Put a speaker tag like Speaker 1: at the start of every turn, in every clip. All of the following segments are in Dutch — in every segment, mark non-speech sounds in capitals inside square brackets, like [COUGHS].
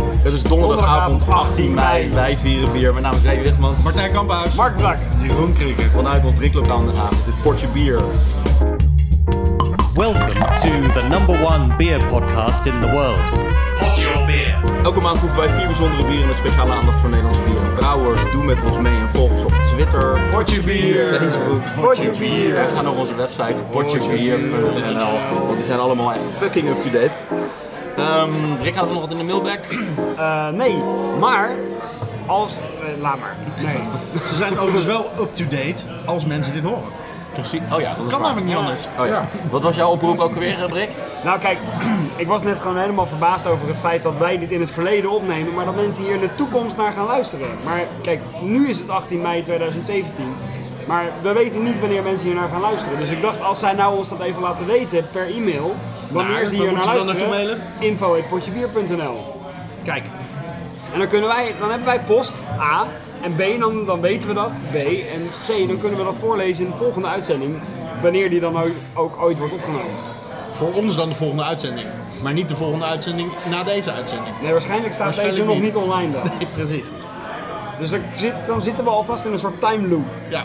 Speaker 1: Het is donderdagavond 18 mei. Wij vieren bier. Mijn naam is Ray Wegmans.
Speaker 2: Martijn Kamphuis.
Speaker 3: Mark Brak.
Speaker 2: Jeroen Krieken.
Speaker 1: Vanuit ons drinkclub aan Den Haag is dit Portje Bier.
Speaker 4: Welcome to the number one beer podcast in the world. Pod your beer.
Speaker 1: Elke maand proeven wij vier bijzondere bieren met speciale aandacht voor Nederlandse bieren. Brouwers, doe met ons mee en volg ons op Twitter,
Speaker 2: Potje bier.
Speaker 1: Facebook,
Speaker 3: Potje bier.
Speaker 1: En ga naar onze website potjebier.nl, want die zijn allemaal echt fucking up-to-date. Ehm Rick, hadden we nog wat in de mailbag?
Speaker 3: Eh, nee, maar als. eh, laat maar. Nee.
Speaker 5: Ze zijn overigens wel up-to-date als mensen dit horen.
Speaker 1: Precies. Oh ja, dat is
Speaker 5: Kan
Speaker 1: waar.
Speaker 5: namelijk niet anders.
Speaker 1: Oh ja. Wat was jouw oproep ook alweer, eh, Rick?
Speaker 3: Nou kijk, [CLEARS THROAT] ik was net gewoon helemaal verbaasd over het feit dat wij dit in het verleden opnemen, maar dat mensen hier in de toekomst naar gaan luisteren. Maar kijk, nu is het 18 mei 2017. Maar we weten niet wanneer mensen hier naar gaan luisteren. Dus ik dacht, als zij nou ons dat even laten weten per e-mail, wanneer
Speaker 5: Nou,
Speaker 3: ze
Speaker 5: waar
Speaker 3: hier naar
Speaker 5: moeten ze dan
Speaker 3: luisteren,
Speaker 5: naartoe
Speaker 3: info.potjebier.nl
Speaker 5: Kijk,
Speaker 3: En dan, kunnen wij, dan hebben wij post, A. En B, dan, dan weten we dat, B. En C, dan kunnen we dat voorlezen in de volgende uitzending. Wanneer die dan ook, ook ooit wordt opgenomen.
Speaker 5: voor ons dan de volgende uitzending. Maar niet de volgende uitzending na deze uitzending.
Speaker 3: Nee, waarschijnlijk staat
Speaker 5: Waarschijnlijk
Speaker 3: deze
Speaker 5: niet.
Speaker 3: nog niet online dan.
Speaker 5: Nee, precies.
Speaker 3: Dus dan, zit, dan zitten we alvast in een soort time loop.
Speaker 5: Ja,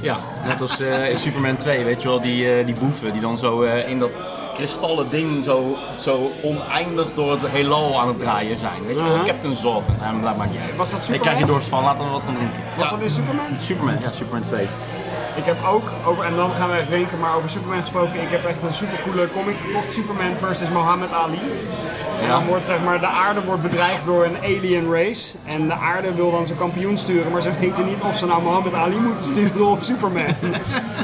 Speaker 1: Ja, net als eh, in Superman 2, weet je wel, die, eh, die boeven die dan zo eh, in dat kristallen ding zo, zo oneindig door het heelal aan het draaien zijn. Weet je wel,
Speaker 3: Mhm.
Speaker 1: Captain Zod, en hem, Uh-huh. dat maakt niet uit.
Speaker 3: Was dat
Speaker 1: Ik
Speaker 3: Superman?
Speaker 1: krijg je dorst van, laten we wat gaan drinken.
Speaker 3: Was
Speaker 1: Ja.
Speaker 3: dat in Superman?
Speaker 1: Superman, ja, Superman 2.
Speaker 3: Ik heb ook, over, en dan gaan we echt drinken, maar over Superman gesproken. Ik heb echt een supercoole comic gekocht. Superman versus Muhammad Ali. En
Speaker 1: Ja.
Speaker 3: dan wordt zeg maar, de aarde wordt bedreigd door een alien race. En de aarde wil dan zijn kampioen sturen, maar ze [LAUGHS] weten niet of ze nou Muhammad Ali moeten sturen of Superman.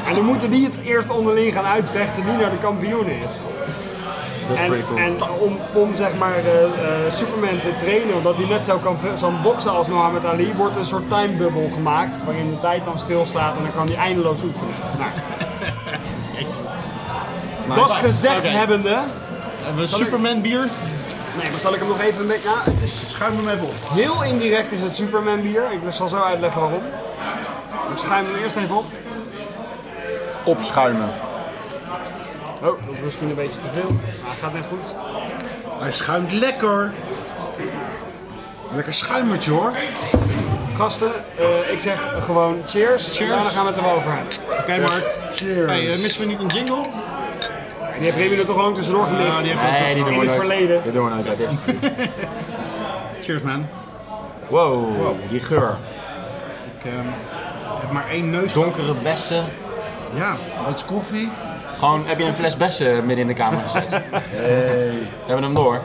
Speaker 3: en dan moeten die het eerst onderling gaan uitvechten wie nou de kampioen is.
Speaker 1: Dat is
Speaker 3: En,
Speaker 1: pretty cool.
Speaker 3: en om, om zeg maar eh, eh, Superman te trainen, omdat hij net zo kan zo boksen als Muhammad Ali, wordt een soort timebubble gemaakt waarin de tijd dan stilstaat en dan kan hij eindeloos oefenen.
Speaker 1: [LAUGHS]
Speaker 3: Nou, dat gezegd
Speaker 5: Oké.
Speaker 3: hebbende.
Speaker 5: hebben we Superman bier?
Speaker 3: Nee, maar zal ik hem nog even mee. Ja, het is
Speaker 5: Schuim hem even op.
Speaker 3: heel indirect is het Superman bier. Ik zal zo uitleggen waarom. Ik schuim hem eerst even op.
Speaker 1: Opschuimen.
Speaker 3: Oh, dat is misschien een beetje te veel. Maar het gaat net goed.
Speaker 2: Hij schuimt lekker. Lekker schuimertje hoor.
Speaker 3: Gasten, eh, ik zeg gewoon cheers.
Speaker 5: Cheers.
Speaker 3: En dan gaan we het er wel over hebben.
Speaker 2: Oké Mark. Cheers.
Speaker 5: Hey, eh, missen we niet een jingle?
Speaker 3: En die heeft Remy er toch gewoon tussendoor gelicht.
Speaker 5: Nou, die heeft-
Speaker 1: Nee, die doen
Speaker 3: In
Speaker 1: we
Speaker 3: het
Speaker 1: nooit.
Speaker 3: verleden.
Speaker 1: Die doen we nooit uit eerste keer.
Speaker 5: Cheers man.
Speaker 1: [LAUGHS] Wow, die geur.
Speaker 5: Ik ehm, heb maar één neus.
Speaker 1: Donkere bessen.
Speaker 5: Ja,
Speaker 2: Wat is koffie?
Speaker 1: Gewoon, heb je een fles bessen midden in de kamer [LAUGHS] gezet? We hebben hem door.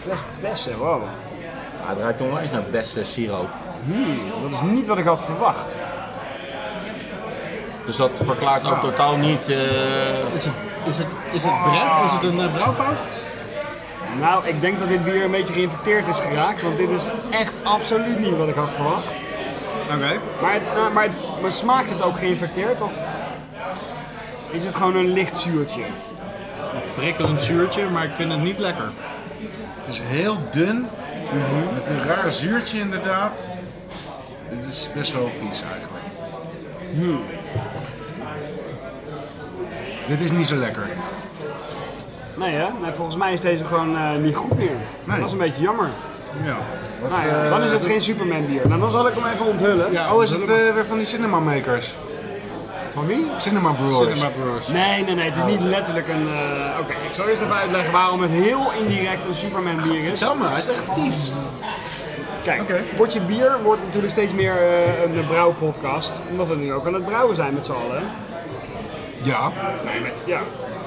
Speaker 3: Fles bessen, wow.
Speaker 1: Ah, het ruikt onwijs naar bessen siroop.
Speaker 3: Dat is niet wat ik had verwacht.
Speaker 1: Dus dat verklaart ook
Speaker 5: Nou.
Speaker 1: totaal niet... eh,
Speaker 5: is het, is het, is het bread? Is het een eh, brouwfout?
Speaker 3: Nou, ik denk dat dit bier een beetje geïnfecteerd is geraakt, want dit is echt absoluut niet wat ik had verwacht.
Speaker 5: Oké.
Speaker 3: Maar, het, nou, maar, maar, het, maar smaakt het ook geïnfecteerd of is het gewoon een licht zuurtje?
Speaker 5: Prikkelend zuurtje, maar ik vind het niet lekker.
Speaker 2: Het is heel dun. Met een raar zuurtje inderdaad. Dit is best wel vies eigenlijk. Dit is niet zo lekker.
Speaker 3: Nee hè? Nee, volgens mij is deze gewoon eh, niet goed meer.
Speaker 2: Nee.
Speaker 3: Dat is een beetje jammer.
Speaker 5: Ja.
Speaker 2: Wat,
Speaker 3: Nou ja,
Speaker 2: eh,
Speaker 3: dan is het geen Superman bier. Nou, dan zal ik hem even onthullen.
Speaker 2: Ja, oh, is het eh, weer van die Cinema Makers?
Speaker 3: Van wie?
Speaker 2: Cinema Brewers.
Speaker 5: Cinema Brewers.
Speaker 3: Nee, nee, nee, het is niet letterlijk een... eh, Oké, ik zal eerst even uitleggen waarom het heel indirect een Superman bier is.
Speaker 2: Vertel me, hij is echt vies.
Speaker 3: Kijk,
Speaker 5: Oké.
Speaker 3: Potje Bier wordt natuurlijk steeds meer eh, een brouwpodcast. Omdat we nu ook aan het brouwen zijn met z'n allen.
Speaker 2: Ja.
Speaker 3: Nee, met, ja.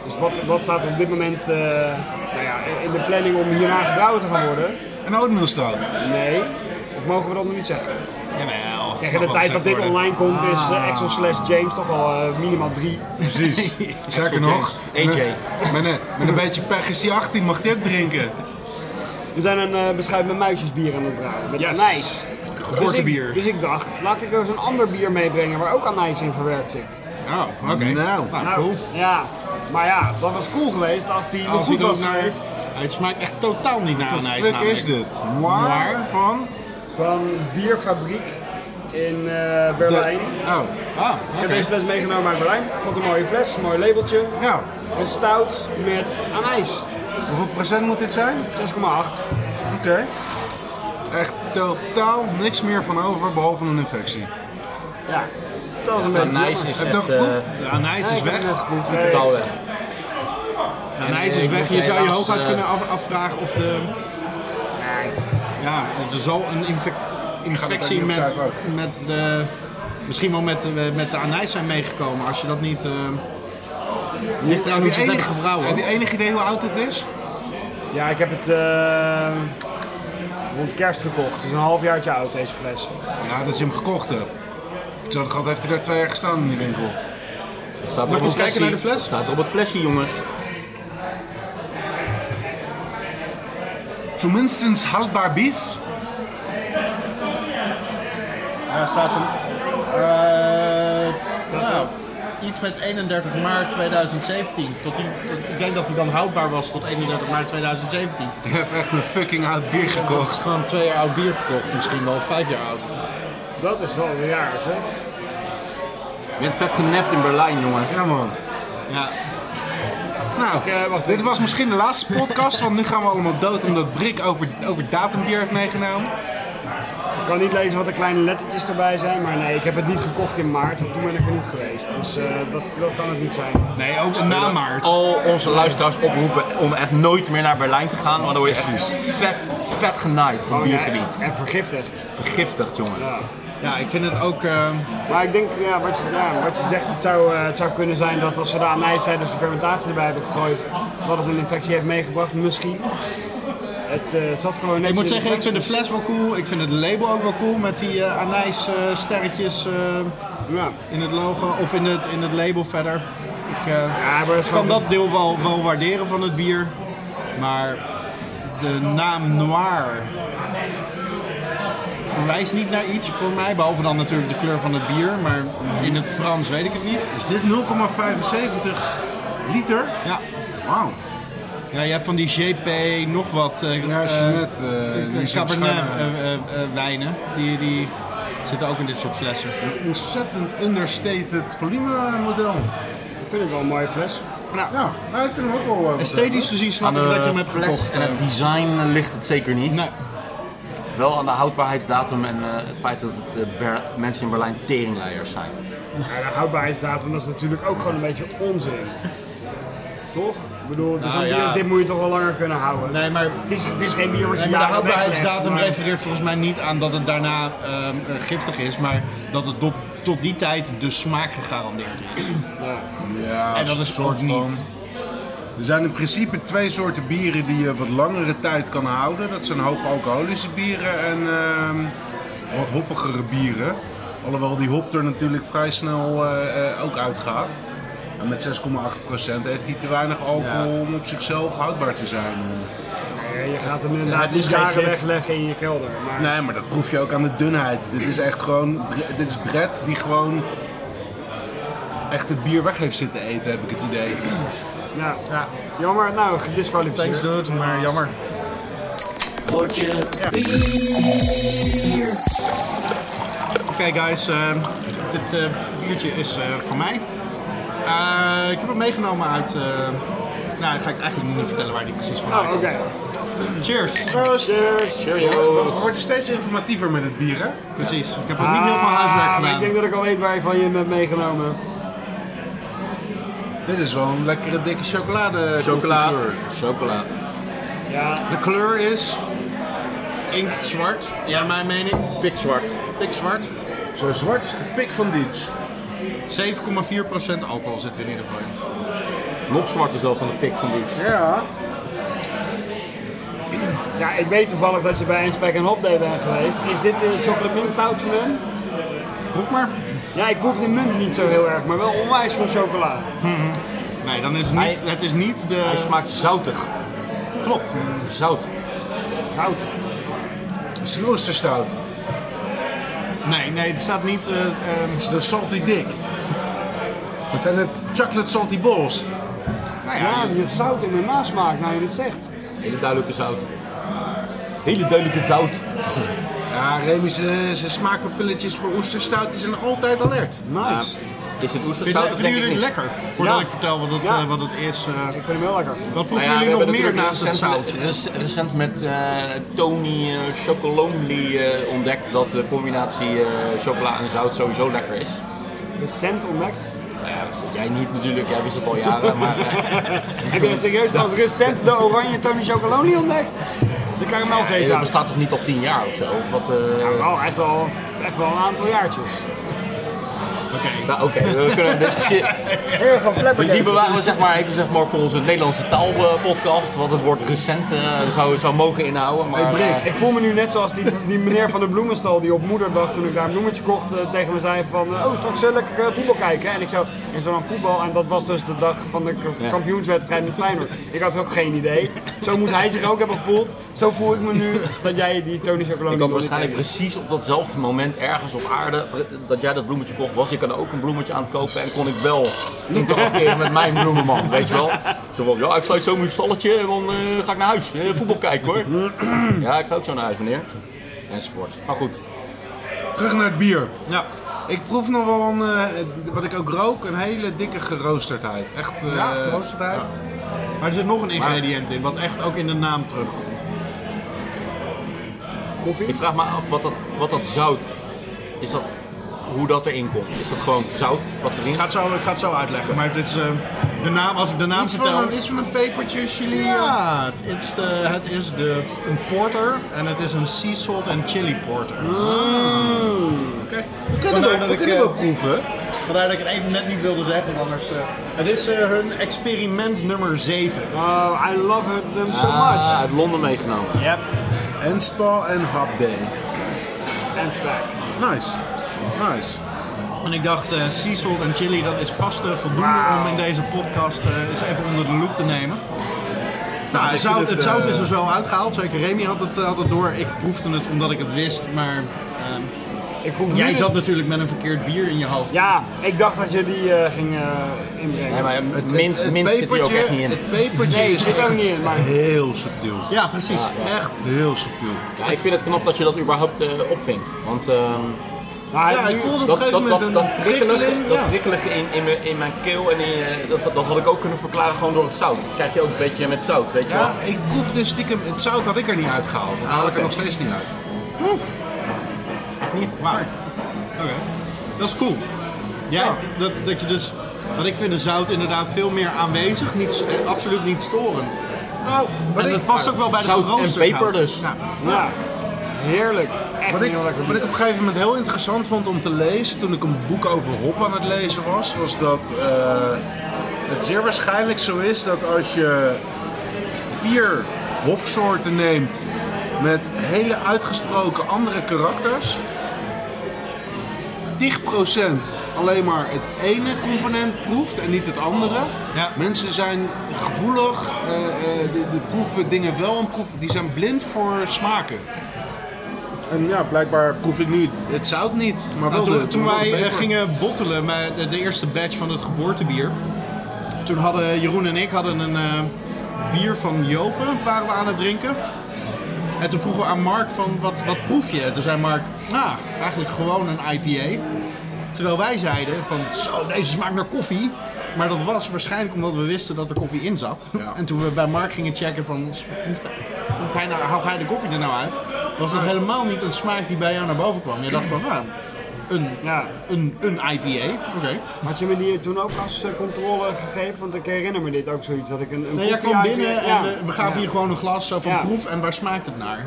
Speaker 3: Dus wat, wat staat er op dit moment eh, nou ja, in de planning om hierna gebrouwen te gaan worden?
Speaker 2: Een oatmeal stout.
Speaker 3: Nee. Of mogen we dat nog niet zeggen?
Speaker 5: Jawel.
Speaker 3: Tegen
Speaker 5: Mag
Speaker 3: de
Speaker 5: wel
Speaker 3: tijd dat dit
Speaker 5: gezegd worden. Ah.
Speaker 3: online komt is eh, Axel slash James toch al eh, minimaal drie.
Speaker 2: Precies. Zeker
Speaker 1: James.
Speaker 2: nog.
Speaker 1: AJ.
Speaker 2: Met, een- met een, met een beetje pech is die 18, mag die ook drinken.
Speaker 3: We zijn een eh, beschuit met muisjesbier aan het brouwen. Met
Speaker 5: Yes.
Speaker 3: anijs.
Speaker 5: Geboortebier.
Speaker 3: Dus ik, dus ik dacht, laat ik eens een ander bier meebrengen waar ook anijs in verwerkt zit.
Speaker 5: Oh, oké.
Speaker 2: Nou.
Speaker 5: nou,
Speaker 3: Nou,
Speaker 5: cool.
Speaker 3: Ja, maar ja, dat was cool geweest als die nog
Speaker 5: Als hij
Speaker 3: goed
Speaker 5: dan
Speaker 3: was
Speaker 5: naar-
Speaker 3: geweest.
Speaker 5: Hij smaakt echt totaal niet naar
Speaker 2: Wat
Speaker 5: anijs.
Speaker 2: fuck
Speaker 5: nou, namelijk.
Speaker 2: is dit? Waar van?
Speaker 3: Van Bierfabriek in eh,
Speaker 2: De-
Speaker 3: Berlijn.
Speaker 2: Oh.
Speaker 5: Ah,
Speaker 3: Ik
Speaker 5: oké.
Speaker 3: heb deze fles meegenomen uit Berlijn. Vond een mooie fles, mooi labeltje.
Speaker 2: Nou,
Speaker 3: Een stout met anijs. 6,8.
Speaker 2: hoeveel procent moet dit zijn?
Speaker 3: Nou,
Speaker 2: Oké. Echt totaal niks meer van over, behalve een infectie.
Speaker 3: Ja, dat was een beetje
Speaker 1: Anijs
Speaker 3: jammer.
Speaker 1: is
Speaker 2: Heb je dat
Speaker 1: echt, eh,
Speaker 2: geproefd?
Speaker 5: De anijs
Speaker 3: Ja,
Speaker 5: is
Speaker 3: ik heb
Speaker 5: weg.
Speaker 3: hem net geproefd.
Speaker 1: eh, totaal weg.
Speaker 5: De anijs
Speaker 1: En,
Speaker 5: is
Speaker 1: eh,
Speaker 5: weg.
Speaker 1: ik
Speaker 5: Je
Speaker 1: moet
Speaker 5: zou je
Speaker 1: helaas,
Speaker 5: hooguit
Speaker 1: eh,
Speaker 5: kunnen af- afvragen of de... Ja, er zal een infec- infectie
Speaker 2: niet
Speaker 5: met,
Speaker 2: opzij ook.
Speaker 5: met de... Misschien wel met, de- met de anijs zijn meegekomen als je dat niet... eh ligt eraan hoe ze het hebben gebrouwen.
Speaker 2: Heb je enig idee hoe oud dit is?
Speaker 3: Ja, ik heb het eh, rond kerst gekocht. Het is een halfjaartje oud deze fles.
Speaker 2: Ja, dat je hem gekocht hebt. Zo gehad heeft hij daar twee jaar gestaan in die winkel.
Speaker 1: Het staat
Speaker 5: Mag
Speaker 1: op
Speaker 5: ik eens
Speaker 1: het
Speaker 5: kijken naar de
Speaker 1: flesje.
Speaker 5: fles?
Speaker 1: Het staat op het flesje, jongens.
Speaker 2: Tenminstens houdbaar bies.
Speaker 5: Daar staat een. eh, nou,
Speaker 3: erop?
Speaker 5: iets met 31 maart 2017. Tot die, tot- ik denk dat hij dan houdbaar was tot 31 maart 2017.
Speaker 2: Ik heb echt een fucking oud bier
Speaker 5: Dat is
Speaker 2: gekocht.
Speaker 5: gewoon twee jaar oud bier gekocht, misschien wel vijf jaar oud.
Speaker 3: Dat is wel raar, zeg.
Speaker 1: Je bent vet genept in Berlijn, jongens.
Speaker 2: Ja man.
Speaker 5: Ja,
Speaker 2: Nou,
Speaker 3: Eh, wacht
Speaker 2: dit was misschien de laatste podcast, want nu gaan we allemaal dood omdat Brik over, over datumbier heeft meegenomen.
Speaker 3: Ik kan niet lezen wat de kleine lettertjes erbij zijn, maar nee, ik heb het niet gekocht in maart, want toen ben ik er niet geweest. Dus eh, dat, dat kan het niet zijn.
Speaker 2: Nee, ook een namaart.
Speaker 1: Al onze luisteraars oproepen om echt nooit meer naar Berlijn te gaan, want dan word je echt vet, vet genaaid van
Speaker 3: Oh, ja,
Speaker 1: biergebied.
Speaker 3: En vergiftigd.
Speaker 1: Vergiftigd, jongen.
Speaker 3: Ja.
Speaker 5: ja ik vind het ook. eh,
Speaker 3: Maar ik denk, ja, wat, je, ja, wat je zegt, het zou, eh, het zou kunnen zijn dat als ze daar anijs tijdens de fermentatie erbij hebben gegooid, dat het een infectie heeft meegebracht, misschien. Het, eh, het zat gewoon net
Speaker 5: ik moet
Speaker 3: in
Speaker 5: zeggen, ik vind de
Speaker 3: flesjes.
Speaker 5: fles wel cool. Ik vind het label ook wel cool met die eh anijssterretjes eh,
Speaker 3: Ja.
Speaker 5: in het logo of in het, in het label verder. Ik, eh,
Speaker 3: Ja, maar het is
Speaker 5: Ik kan
Speaker 3: gewoon-
Speaker 5: dat deel wel, wel waarderen van het bier, maar de naam Noir verwijst niet naar iets voor mij, behalve dan natuurlijk de kleur van het bier, maar in het Frans weet ik het niet.
Speaker 2: Is dit 0,75 liter?
Speaker 5: Ja,
Speaker 2: Wauw.
Speaker 5: ja je hebt van die GP nog wat eh,
Speaker 2: Ja,
Speaker 5: eh,
Speaker 2: Genet,
Speaker 5: eh,
Speaker 2: eh, die is op
Speaker 5: Cabernet
Speaker 2: schuim,
Speaker 5: eh, eh, eh, wijnen, die, die zitten ook in dit soort flessen.
Speaker 2: Een ontzettend understated volume model.
Speaker 3: Dat vind ik wel een mooie fles.
Speaker 2: Ja, nou, ik vind hem ook wel... eh,
Speaker 5: Esthetisch gezien snap
Speaker 1: Aan
Speaker 5: ik dat je
Speaker 1: de
Speaker 5: hem hebt
Speaker 1: fles
Speaker 5: gekocht.
Speaker 1: en
Speaker 5: eh.
Speaker 1: het design ligt het zeker niet.
Speaker 5: Nee.
Speaker 1: Wel aan de houdbaarheidsdatum en eh, het feit dat het, eh, Ber- mensen in Berlijn teringleiers zijn.
Speaker 3: Ja, de houdbaarheidsdatum dat is natuurlijk ook gewoon een beetje onzin. Toch? Ik bedoel, het is
Speaker 5: Nou
Speaker 3: een bier
Speaker 5: ja.
Speaker 3: als dit moet je toch wel langer kunnen houden.
Speaker 5: Nee, maar
Speaker 3: Het, is, het is geen bier wat je
Speaker 5: Nee, maar de
Speaker 3: jaren
Speaker 5: houdbaarheidsdatum
Speaker 3: weglegt, maar-
Speaker 5: refereert volgens mij niet aan dat het daarna ehm, eh, giftig is, maar dat het tot, tot die tijd de smaak gegarandeerd is.
Speaker 2: Ja,
Speaker 5: En dat is ook niet.
Speaker 2: Er zijn in principe twee soorten bieren die je wat langere tijd kan houden. Dat zijn hoogalcoholische bieren en ehm, wat hoppigere bieren. Alhoewel die hop er natuurlijk vrij snel eh, eh, ook uitgaat. En met 6,8% heeft hij te weinig alcohol om op zichzelf houdbaar te zijn.
Speaker 3: Ja, je gaat hem inderdaad
Speaker 5: het is
Speaker 3: niet jaren
Speaker 5: geen gif.
Speaker 3: wegleggen in je kelder. Maar
Speaker 2: Nee, maar dat proef je ook aan de dunheid. Dit is echt gewoon, dit is Brett die gewoon echt het bier weg heeft zitten eten, heb ik het idee.
Speaker 3: ja. jammer, nou gedisqualificeerd.
Speaker 5: maar jammer. Oké guys, ehm, dit eh, biertje is eh, van mij. Eh, ik heb hem meegenomen uit... eh, nou, dan ga ik eigenlijk niet vertellen waar die precies van
Speaker 3: Oh, oké.
Speaker 5: uitkomt. Cheers!
Speaker 2: Proost!
Speaker 3: Cheers.
Speaker 2: We worden steeds informatiever met het bier, hè?
Speaker 5: Precies, ik heb ook niet heel veel huiswerk
Speaker 3: Ah, maar
Speaker 5: gedaan.
Speaker 3: Ik denk dat ik al weet waar je van je hem hebt meegenomen.
Speaker 2: Dit is wel een lekkere dikke chocolade.
Speaker 1: Chocola.
Speaker 2: confituur.
Speaker 1: Chocola.
Speaker 3: Ja,
Speaker 5: De kleur is inktzwart, ja, mijn mening. Pikzwart. Pikzwart.
Speaker 2: Zo zwart is de pik van diets.
Speaker 5: 7,4% alcohol zit er in ieder geval in.
Speaker 1: Nog zwarter zelfs dan de pik van dit.
Speaker 2: Ja.
Speaker 3: ja, ik weet toevallig dat je bij Inspec en Hop Day bent geweest. Is dit de chocolate mint stout van hem?
Speaker 5: Proef maar.
Speaker 3: Ja, ik proef die munt niet zo heel erg, maar wel onwijs veel chocola.
Speaker 5: Nee, dan is het niet,
Speaker 1: Hij-
Speaker 5: het is niet de...
Speaker 1: Hij smaakt zoutig.
Speaker 5: klopt.
Speaker 1: Zout.
Speaker 3: Goud.
Speaker 2: Misschien oesterstout.
Speaker 5: Nee, nee, het staat niet... eh, ehm,
Speaker 2: Is het een salty dick? Zijn het chocolate salty balls?
Speaker 5: nou ja,
Speaker 3: Ja, die het zout in de nasmaak, nou je dit zegt.
Speaker 1: Hele duidelijke zout. Hele duidelijke zout.
Speaker 2: Ja, Remy, zijn zijn smaakpapilletjes voor oesterstout die zijn altijd alert.
Speaker 3: Nice.
Speaker 1: Ja. Is het
Speaker 5: Vinden
Speaker 1: oesterstout of
Speaker 5: vinden
Speaker 1: denk
Speaker 5: jullie
Speaker 1: ik
Speaker 5: het
Speaker 1: niet?
Speaker 5: lekker? Voordat
Speaker 3: Ja.
Speaker 5: ik vertel wat het,
Speaker 3: Ja.
Speaker 5: eh, wat het is. eh,
Speaker 3: Ik vind hem heel lekker.
Speaker 5: wat
Speaker 1: Nou
Speaker 5: proeven
Speaker 1: ja, we
Speaker 5: jullie nog
Speaker 1: hebben
Speaker 5: meer
Speaker 1: natuurlijk
Speaker 5: naast het zout?
Speaker 1: recent, rec- recent met eh, Tony eh, Chocolonely eh, ontdekt dat de combinatie eh, chocola en zout sowieso lekker is.
Speaker 3: Recent ontdekt.
Speaker 1: Nou ja, dat is- jij niet natuurlijk, jij wist het al
Speaker 5: [LAUGHS]
Speaker 1: jaren, maar eh,
Speaker 3: Heb je serieus pas recent de oranje Tony Chocolonely ontdekt? De karamelzeezout.
Speaker 1: het eh, bestaat toch niet al tien jaar of zo? Of wat, eh,
Speaker 3: Ja, wel echt al, echt wel een aantal jaartjes.
Speaker 1: nou, oké, we kunnen dus
Speaker 5: [LAUGHS]
Speaker 3: Heel van Flapper
Speaker 1: Die bewaren we zeg maar even zeg maar, voor onze Nederlandse taalpodcast, want het woord recent eh, zou, zou mogen inhouden. Maar,
Speaker 2: Hey, Brik,
Speaker 1: eh,
Speaker 3: Ik voel me nu net zoals die, die meneer van de bloemenstal die op moederdag toen ik daar een bloemetje kocht eh, tegen me zei van eh, oh straks eh, lekker eh, voetbal kijken. En ik zo, en zo aan voetbal en dat was dus de dag van de k-
Speaker 1: Ja.
Speaker 3: kampioenswedstrijd met Feyenoord. Ik had ook geen idee. Zo moet hij zich ook hebben gevoeld. Zo voel ik me nu dat jij die Tony Chocolonely
Speaker 1: Ik had
Speaker 3: nog niet
Speaker 1: waarschijnlijk
Speaker 3: hebt.
Speaker 1: precies op datzelfde moment ergens op aarde pre- dat jij dat bloemetje kocht, was ik er ook een bloemetje aan het kopen en kon ik wel interacteren met mijn bloemenman, weet je wel. Zo van, ja, ik sluit zo mijn stalletje en dan eh, ga ik naar huis, eh, voetbal kijken hoor. [CLEARS THROAT] ja, ik ga ook zo naar huis meneer. Enzovoort. Maar goed,
Speaker 2: Terug naar het bier.
Speaker 5: Ja.
Speaker 2: Ik proef nog wel een, eh, wat ik ook rook, een hele dikke geroosterdheid. Echt, eh,
Speaker 5: Ja, geroosterdheid. Maar er zit nog een ingrediënt in, wat echt ook in de naam terugkomt.
Speaker 3: koffie.
Speaker 1: ik vraag me af wat dat, wat dat zout, is dat, hoe dat erin komt. Is dat gewoon zout wat erin
Speaker 5: Ik ga
Speaker 1: gaat?
Speaker 5: het zo, ik ga het zo uitleggen, maar het is, eh, de naam, als ik de naam
Speaker 2: Iets
Speaker 5: vertel...
Speaker 2: van, een, iets van een pepertje, chili.
Speaker 5: Ja, het is, de, het is de, een porter en het is een sea salt en chili porter.
Speaker 2: Mm.
Speaker 5: Ah,
Speaker 2: We kunnen
Speaker 5: Vandaar
Speaker 2: we,
Speaker 5: dat
Speaker 2: we
Speaker 5: ik,
Speaker 2: kunnen
Speaker 5: eh,
Speaker 2: wel proeven.
Speaker 5: Vandaar dat ik het even net niet wilde zeggen, want anders... eh, het is eh, hun experiment nummer 7.
Speaker 2: Ah.
Speaker 3: Oh, I love it, them so
Speaker 1: Ah,
Speaker 3: much.
Speaker 1: uit Londen meegenomen.
Speaker 5: Ja.
Speaker 2: En spa en hub day.
Speaker 3: And back.
Speaker 2: Nice. Nice.
Speaker 5: En ik dacht, eh sea salt en chili, dat is vast eh, voldoende
Speaker 3: Wauw.
Speaker 5: om in deze podcast eh, eens even onder de loep te nemen. Nou,
Speaker 2: ik
Speaker 5: het
Speaker 2: vind
Speaker 5: zout,
Speaker 2: het,
Speaker 5: het zout
Speaker 2: eh,
Speaker 5: is er zo uitgehaald. Zeker Remy had het, eh, had het door. Ik proefde het omdat ik het wist, maar... ehm,
Speaker 3: Ik proef nu
Speaker 5: Jij
Speaker 3: de-
Speaker 5: zat natuurlijk met een verkeerd bier in je hoofd.
Speaker 3: Ja, ik dacht dat je die eh, ging eh, inbrengen.
Speaker 1: Nee, maar
Speaker 2: Het-
Speaker 1: mint,
Speaker 2: het
Speaker 1: mint zit hier ook
Speaker 2: pepertje-
Speaker 1: echt niet in.
Speaker 2: Het pepertje
Speaker 3: Nee,
Speaker 2: is
Speaker 3: zit ook
Speaker 2: echt
Speaker 3: niet in, maar...
Speaker 2: heel subtiel.
Speaker 5: Ja, precies.
Speaker 2: Echt heel subtiel.
Speaker 1: Ja, ik vind het knap dat je dat überhaupt eh, opving. Want ehm,
Speaker 3: maar
Speaker 2: Ja, ik
Speaker 3: nu-
Speaker 2: voelde op een
Speaker 1: dat, dat,
Speaker 2: gegeven moment
Speaker 1: dat,
Speaker 2: een
Speaker 1: dat prikkelige,
Speaker 2: prikkeling,
Speaker 1: dat
Speaker 2: ja.
Speaker 1: prikkelige in, in, mijn, in mijn keel en in, eh, dat, dat had ik ook kunnen verklaren gewoon door het zout. Dat krijg je ook een beetje met zout, weet je wel.
Speaker 2: Ja, ik proefde stiekem, het zout had ik er niet uitgehaald. Dat haal ik
Speaker 1: oké.
Speaker 2: er nog steeds niet uit.
Speaker 1: Echt niet?
Speaker 5: Wauw. Oké. Dat is cool. Ja, dat, dat je dus... Want ik vind de zout inderdaad veel meer aanwezig. Niet, eh, absoluut niet storend.
Speaker 2: Nou, wat
Speaker 5: en
Speaker 2: ik,
Speaker 5: dat past ook wel bij
Speaker 1: Zout
Speaker 5: de
Speaker 1: en
Speaker 5: geroosterhout.
Speaker 1: peper dus.
Speaker 5: Ja.
Speaker 3: Ja, heerlijk. Echt
Speaker 2: wat, ik,
Speaker 3: heel lekker
Speaker 2: wat ik op een gegeven moment heel interessant vond om te lezen, toen ik een boek over hop aan het lezen was, was dat eh, het zeer waarschijnlijk zo is dat als je vier hopsoorten neemt met hele uitgesproken andere karakters, 10% alleen maar het ene component proeft en niet het andere.
Speaker 5: Ja.
Speaker 2: Mensen zijn gevoelig, eh, eh, die, die proeven dingen wel en proeven, die zijn blind voor smaken. En ja, blijkbaar proef ik nu het zout niet, maar wel
Speaker 5: Nou, toen,
Speaker 2: de,
Speaker 5: toen
Speaker 2: wel de
Speaker 5: wij eh,
Speaker 2: peper.
Speaker 5: gingen bottelen met de, de eerste batch van het geboortebier, toen hadden Jeroen en ik hadden een eh, bier van Jopen, waren we aan het drinken. En toen vroegen we aan Mark van wat, wat proef je? En Toen zei Mark, nou, eigenlijk gewoon een IPA. Terwijl wij zeiden van zo, deze smaakt naar koffie. Maar dat was waarschijnlijk omdat we wisten dat er koffie in zat.
Speaker 2: Ja.
Speaker 5: En toen we bij Mark gingen checken van proeft hij, proeft hij nou, haalt hij de koffie er nou uit? Was dat helemaal niet een smaak die bij jou naar boven kwam. Je dacht van, nou, een,
Speaker 3: Ja,
Speaker 5: een, een IPA. Oké.
Speaker 3: had je me die toen ook als eh, controle gegeven? Want ik herinner me dit ook zoiets, dat ik een, een
Speaker 5: Nee, jij
Speaker 3: koffie
Speaker 5: kwam
Speaker 3: uit-
Speaker 5: binnen
Speaker 3: ja.
Speaker 5: en eh, we gaven hier gewoon een glas zo van
Speaker 3: Ja.
Speaker 5: proef en waar smaakt het naar?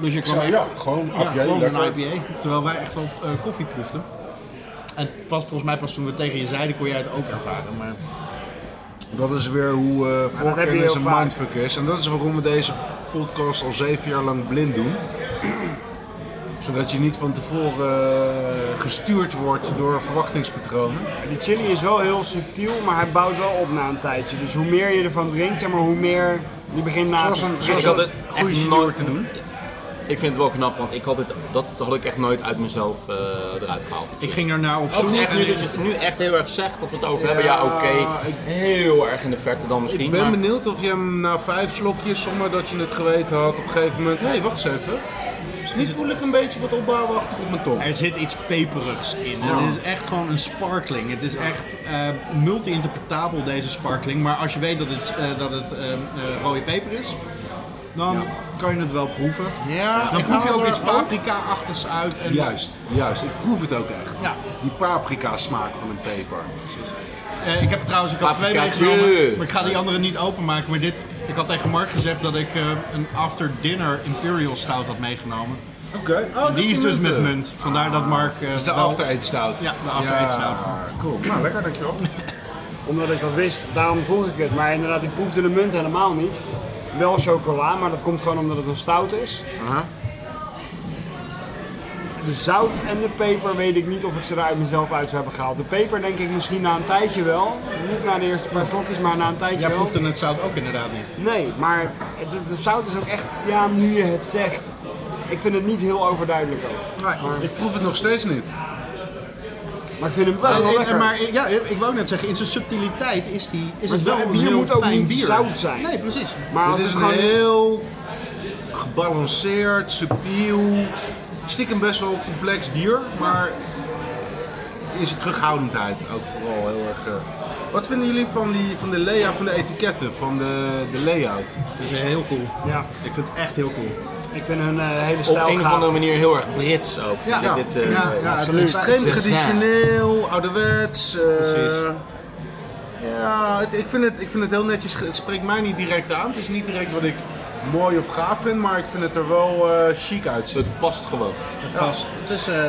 Speaker 5: Dus je kwam
Speaker 2: Zo,
Speaker 5: echt-
Speaker 2: ja, gewoon
Speaker 5: ja,
Speaker 2: IPA,
Speaker 5: gewoon een
Speaker 2: lekker.
Speaker 5: IPA. Terwijl wij echt wel eh, koffie proefden. En pas, volgens mij pas toen we tegen je zeiden kon jij het ook ervaren. Maar
Speaker 2: Dat is weer hoe eh
Speaker 3: dat heb je heel
Speaker 2: voorkennis een
Speaker 3: vaak.
Speaker 2: mindfuck is. En dat is waarom we deze podcast al zeven jaar lang blind doen. [CLEARS THROAT] Zodat je niet van tevoren eh, gestuurd wordt door verwachtingspatronen.
Speaker 3: Die chili is wel heel subtiel, maar hij bouwt wel op na een tijdje. Dus hoe meer je ervan drinkt, zeg maar, hoe meer je begint na
Speaker 2: Zoals
Speaker 3: te
Speaker 2: een,
Speaker 3: drinken.
Speaker 1: had
Speaker 2: zoals een
Speaker 1: het echt
Speaker 2: goede
Speaker 1: nooit-
Speaker 2: snor te doen.
Speaker 1: Ik vind het wel knap, want ik had het, dat had ik echt nooit uit mezelf eh, eruit gehaald.
Speaker 5: ik ging daarna op
Speaker 1: Ook
Speaker 5: zoek.
Speaker 1: echt,
Speaker 5: en
Speaker 1: nu
Speaker 5: ik-
Speaker 1: dat je het nu echt heel erg zegt dat we het over
Speaker 2: Ja,
Speaker 1: hebben, ja oké,
Speaker 2: ik-
Speaker 1: heel erg in de verte dan misschien.
Speaker 2: Ik ben
Speaker 1: maar-
Speaker 2: benieuwd of je hem na vijf slokjes, zonder dat je het geweten had, op een gegeven moment... Hé, hey, wacht eens even. Nu voel ik een beetje wat opbouwachtig op mijn tong.
Speaker 5: Er zit iets peperigs in. Het is echt gewoon een sparkling. Het is echt eh, multi-interpretabel deze sparkling. Maar als je weet dat het, eh, dat het eh, eh, rode peper is, dan kan je het wel proeven.
Speaker 2: Ja,
Speaker 5: Dan
Speaker 2: ik
Speaker 5: proef je
Speaker 2: hou
Speaker 5: ook
Speaker 2: er
Speaker 5: iets paprika-achtigs uit. En
Speaker 2: Juist, juist. Ik proef het ook echt.
Speaker 5: Ja.
Speaker 2: Die paprika smaak van een peper.
Speaker 5: Eh, ik heb trouwens, ik had twee
Speaker 1: Paprikaatje.
Speaker 5: meegenomen, maar ik ga die andere niet openmaken. Maar dit, ik had tegen Mark gezegd dat ik eh, een after dinner imperial stout had meegenomen.
Speaker 2: Oké. Oh, dat
Speaker 5: die is dus met
Speaker 2: munten.
Speaker 5: munt. Vandaar dat Mark... eh,
Speaker 2: Dat is de
Speaker 5: wel-
Speaker 2: after eat stout.
Speaker 5: Ja, de after eat stout.
Speaker 2: Cool. Nou, lekker dankjewel.
Speaker 3: Omdat ik dat wist, daarom vroeg ik het. Maar inderdaad, ik proefde de munt helemaal niet. Wel chocola, maar dat komt gewoon omdat het een stout is. De zout en de peper weet ik niet of ik ze er uit mezelf uit zou hebben gehaald. De peper denk ik misschien na een tijdje wel. Niet na de eerste paar slokjes, maar na een tijdje
Speaker 5: Jij
Speaker 3: wel.
Speaker 5: proefde het zout ook inderdaad niet.
Speaker 3: Nee, maar de, de zout is ook echt, ja, nu je het zegt. Ik vind het niet heel overduidelijk ook.
Speaker 2: Maar [LAUGHS] Ik proef het nog steeds niet.
Speaker 3: Maar ik vind hem wel
Speaker 1: Nou,
Speaker 5: Eh, eh,
Speaker 3: heel lekker.
Speaker 5: maar eh, ja, ik wou net zeggen, in zijn subtiliteit is, die, is
Speaker 3: Maar
Speaker 5: het wel
Speaker 3: zout-
Speaker 5: een
Speaker 3: bier
Speaker 5: heel
Speaker 3: moet ook
Speaker 5: fijn
Speaker 3: niet
Speaker 5: bier.
Speaker 3: zout zijn.
Speaker 5: Nee, precies.
Speaker 3: Maar als
Speaker 2: Dit
Speaker 3: het
Speaker 2: is een
Speaker 3: gewoon...
Speaker 2: heel gebalanceerd, subtiel, stiekem best wel complex bier, maar in zijn terughoudendheid ook vooral heel erg. eh. Wat vinden jullie van, die, van de layout, van de etiketten, van de, de layout?
Speaker 5: Het is eh, heel cool.
Speaker 3: Ja,
Speaker 5: Ik vind het echt heel cool.
Speaker 3: ik vind hun eh, hele
Speaker 1: Op
Speaker 3: stijl
Speaker 1: een of
Speaker 3: gaaf.
Speaker 1: andere manier heel erg Brits ook. vind
Speaker 2: Ja.
Speaker 1: ik dit, eh,
Speaker 5: ja, ja,
Speaker 2: Het is extreem
Speaker 1: Ja.
Speaker 2: traditioneel, ouderwets. eh,
Speaker 5: Precies.
Speaker 2: ja, het- ik, vind het, ik vind het heel netjes. ge- Het spreekt mij niet direct aan. Het is niet direct wat ik mooi of gaaf vind, maar ik vind het er wel eh, chic uitzien.
Speaker 1: Het past gewoon.
Speaker 5: Het past. Het is, eh,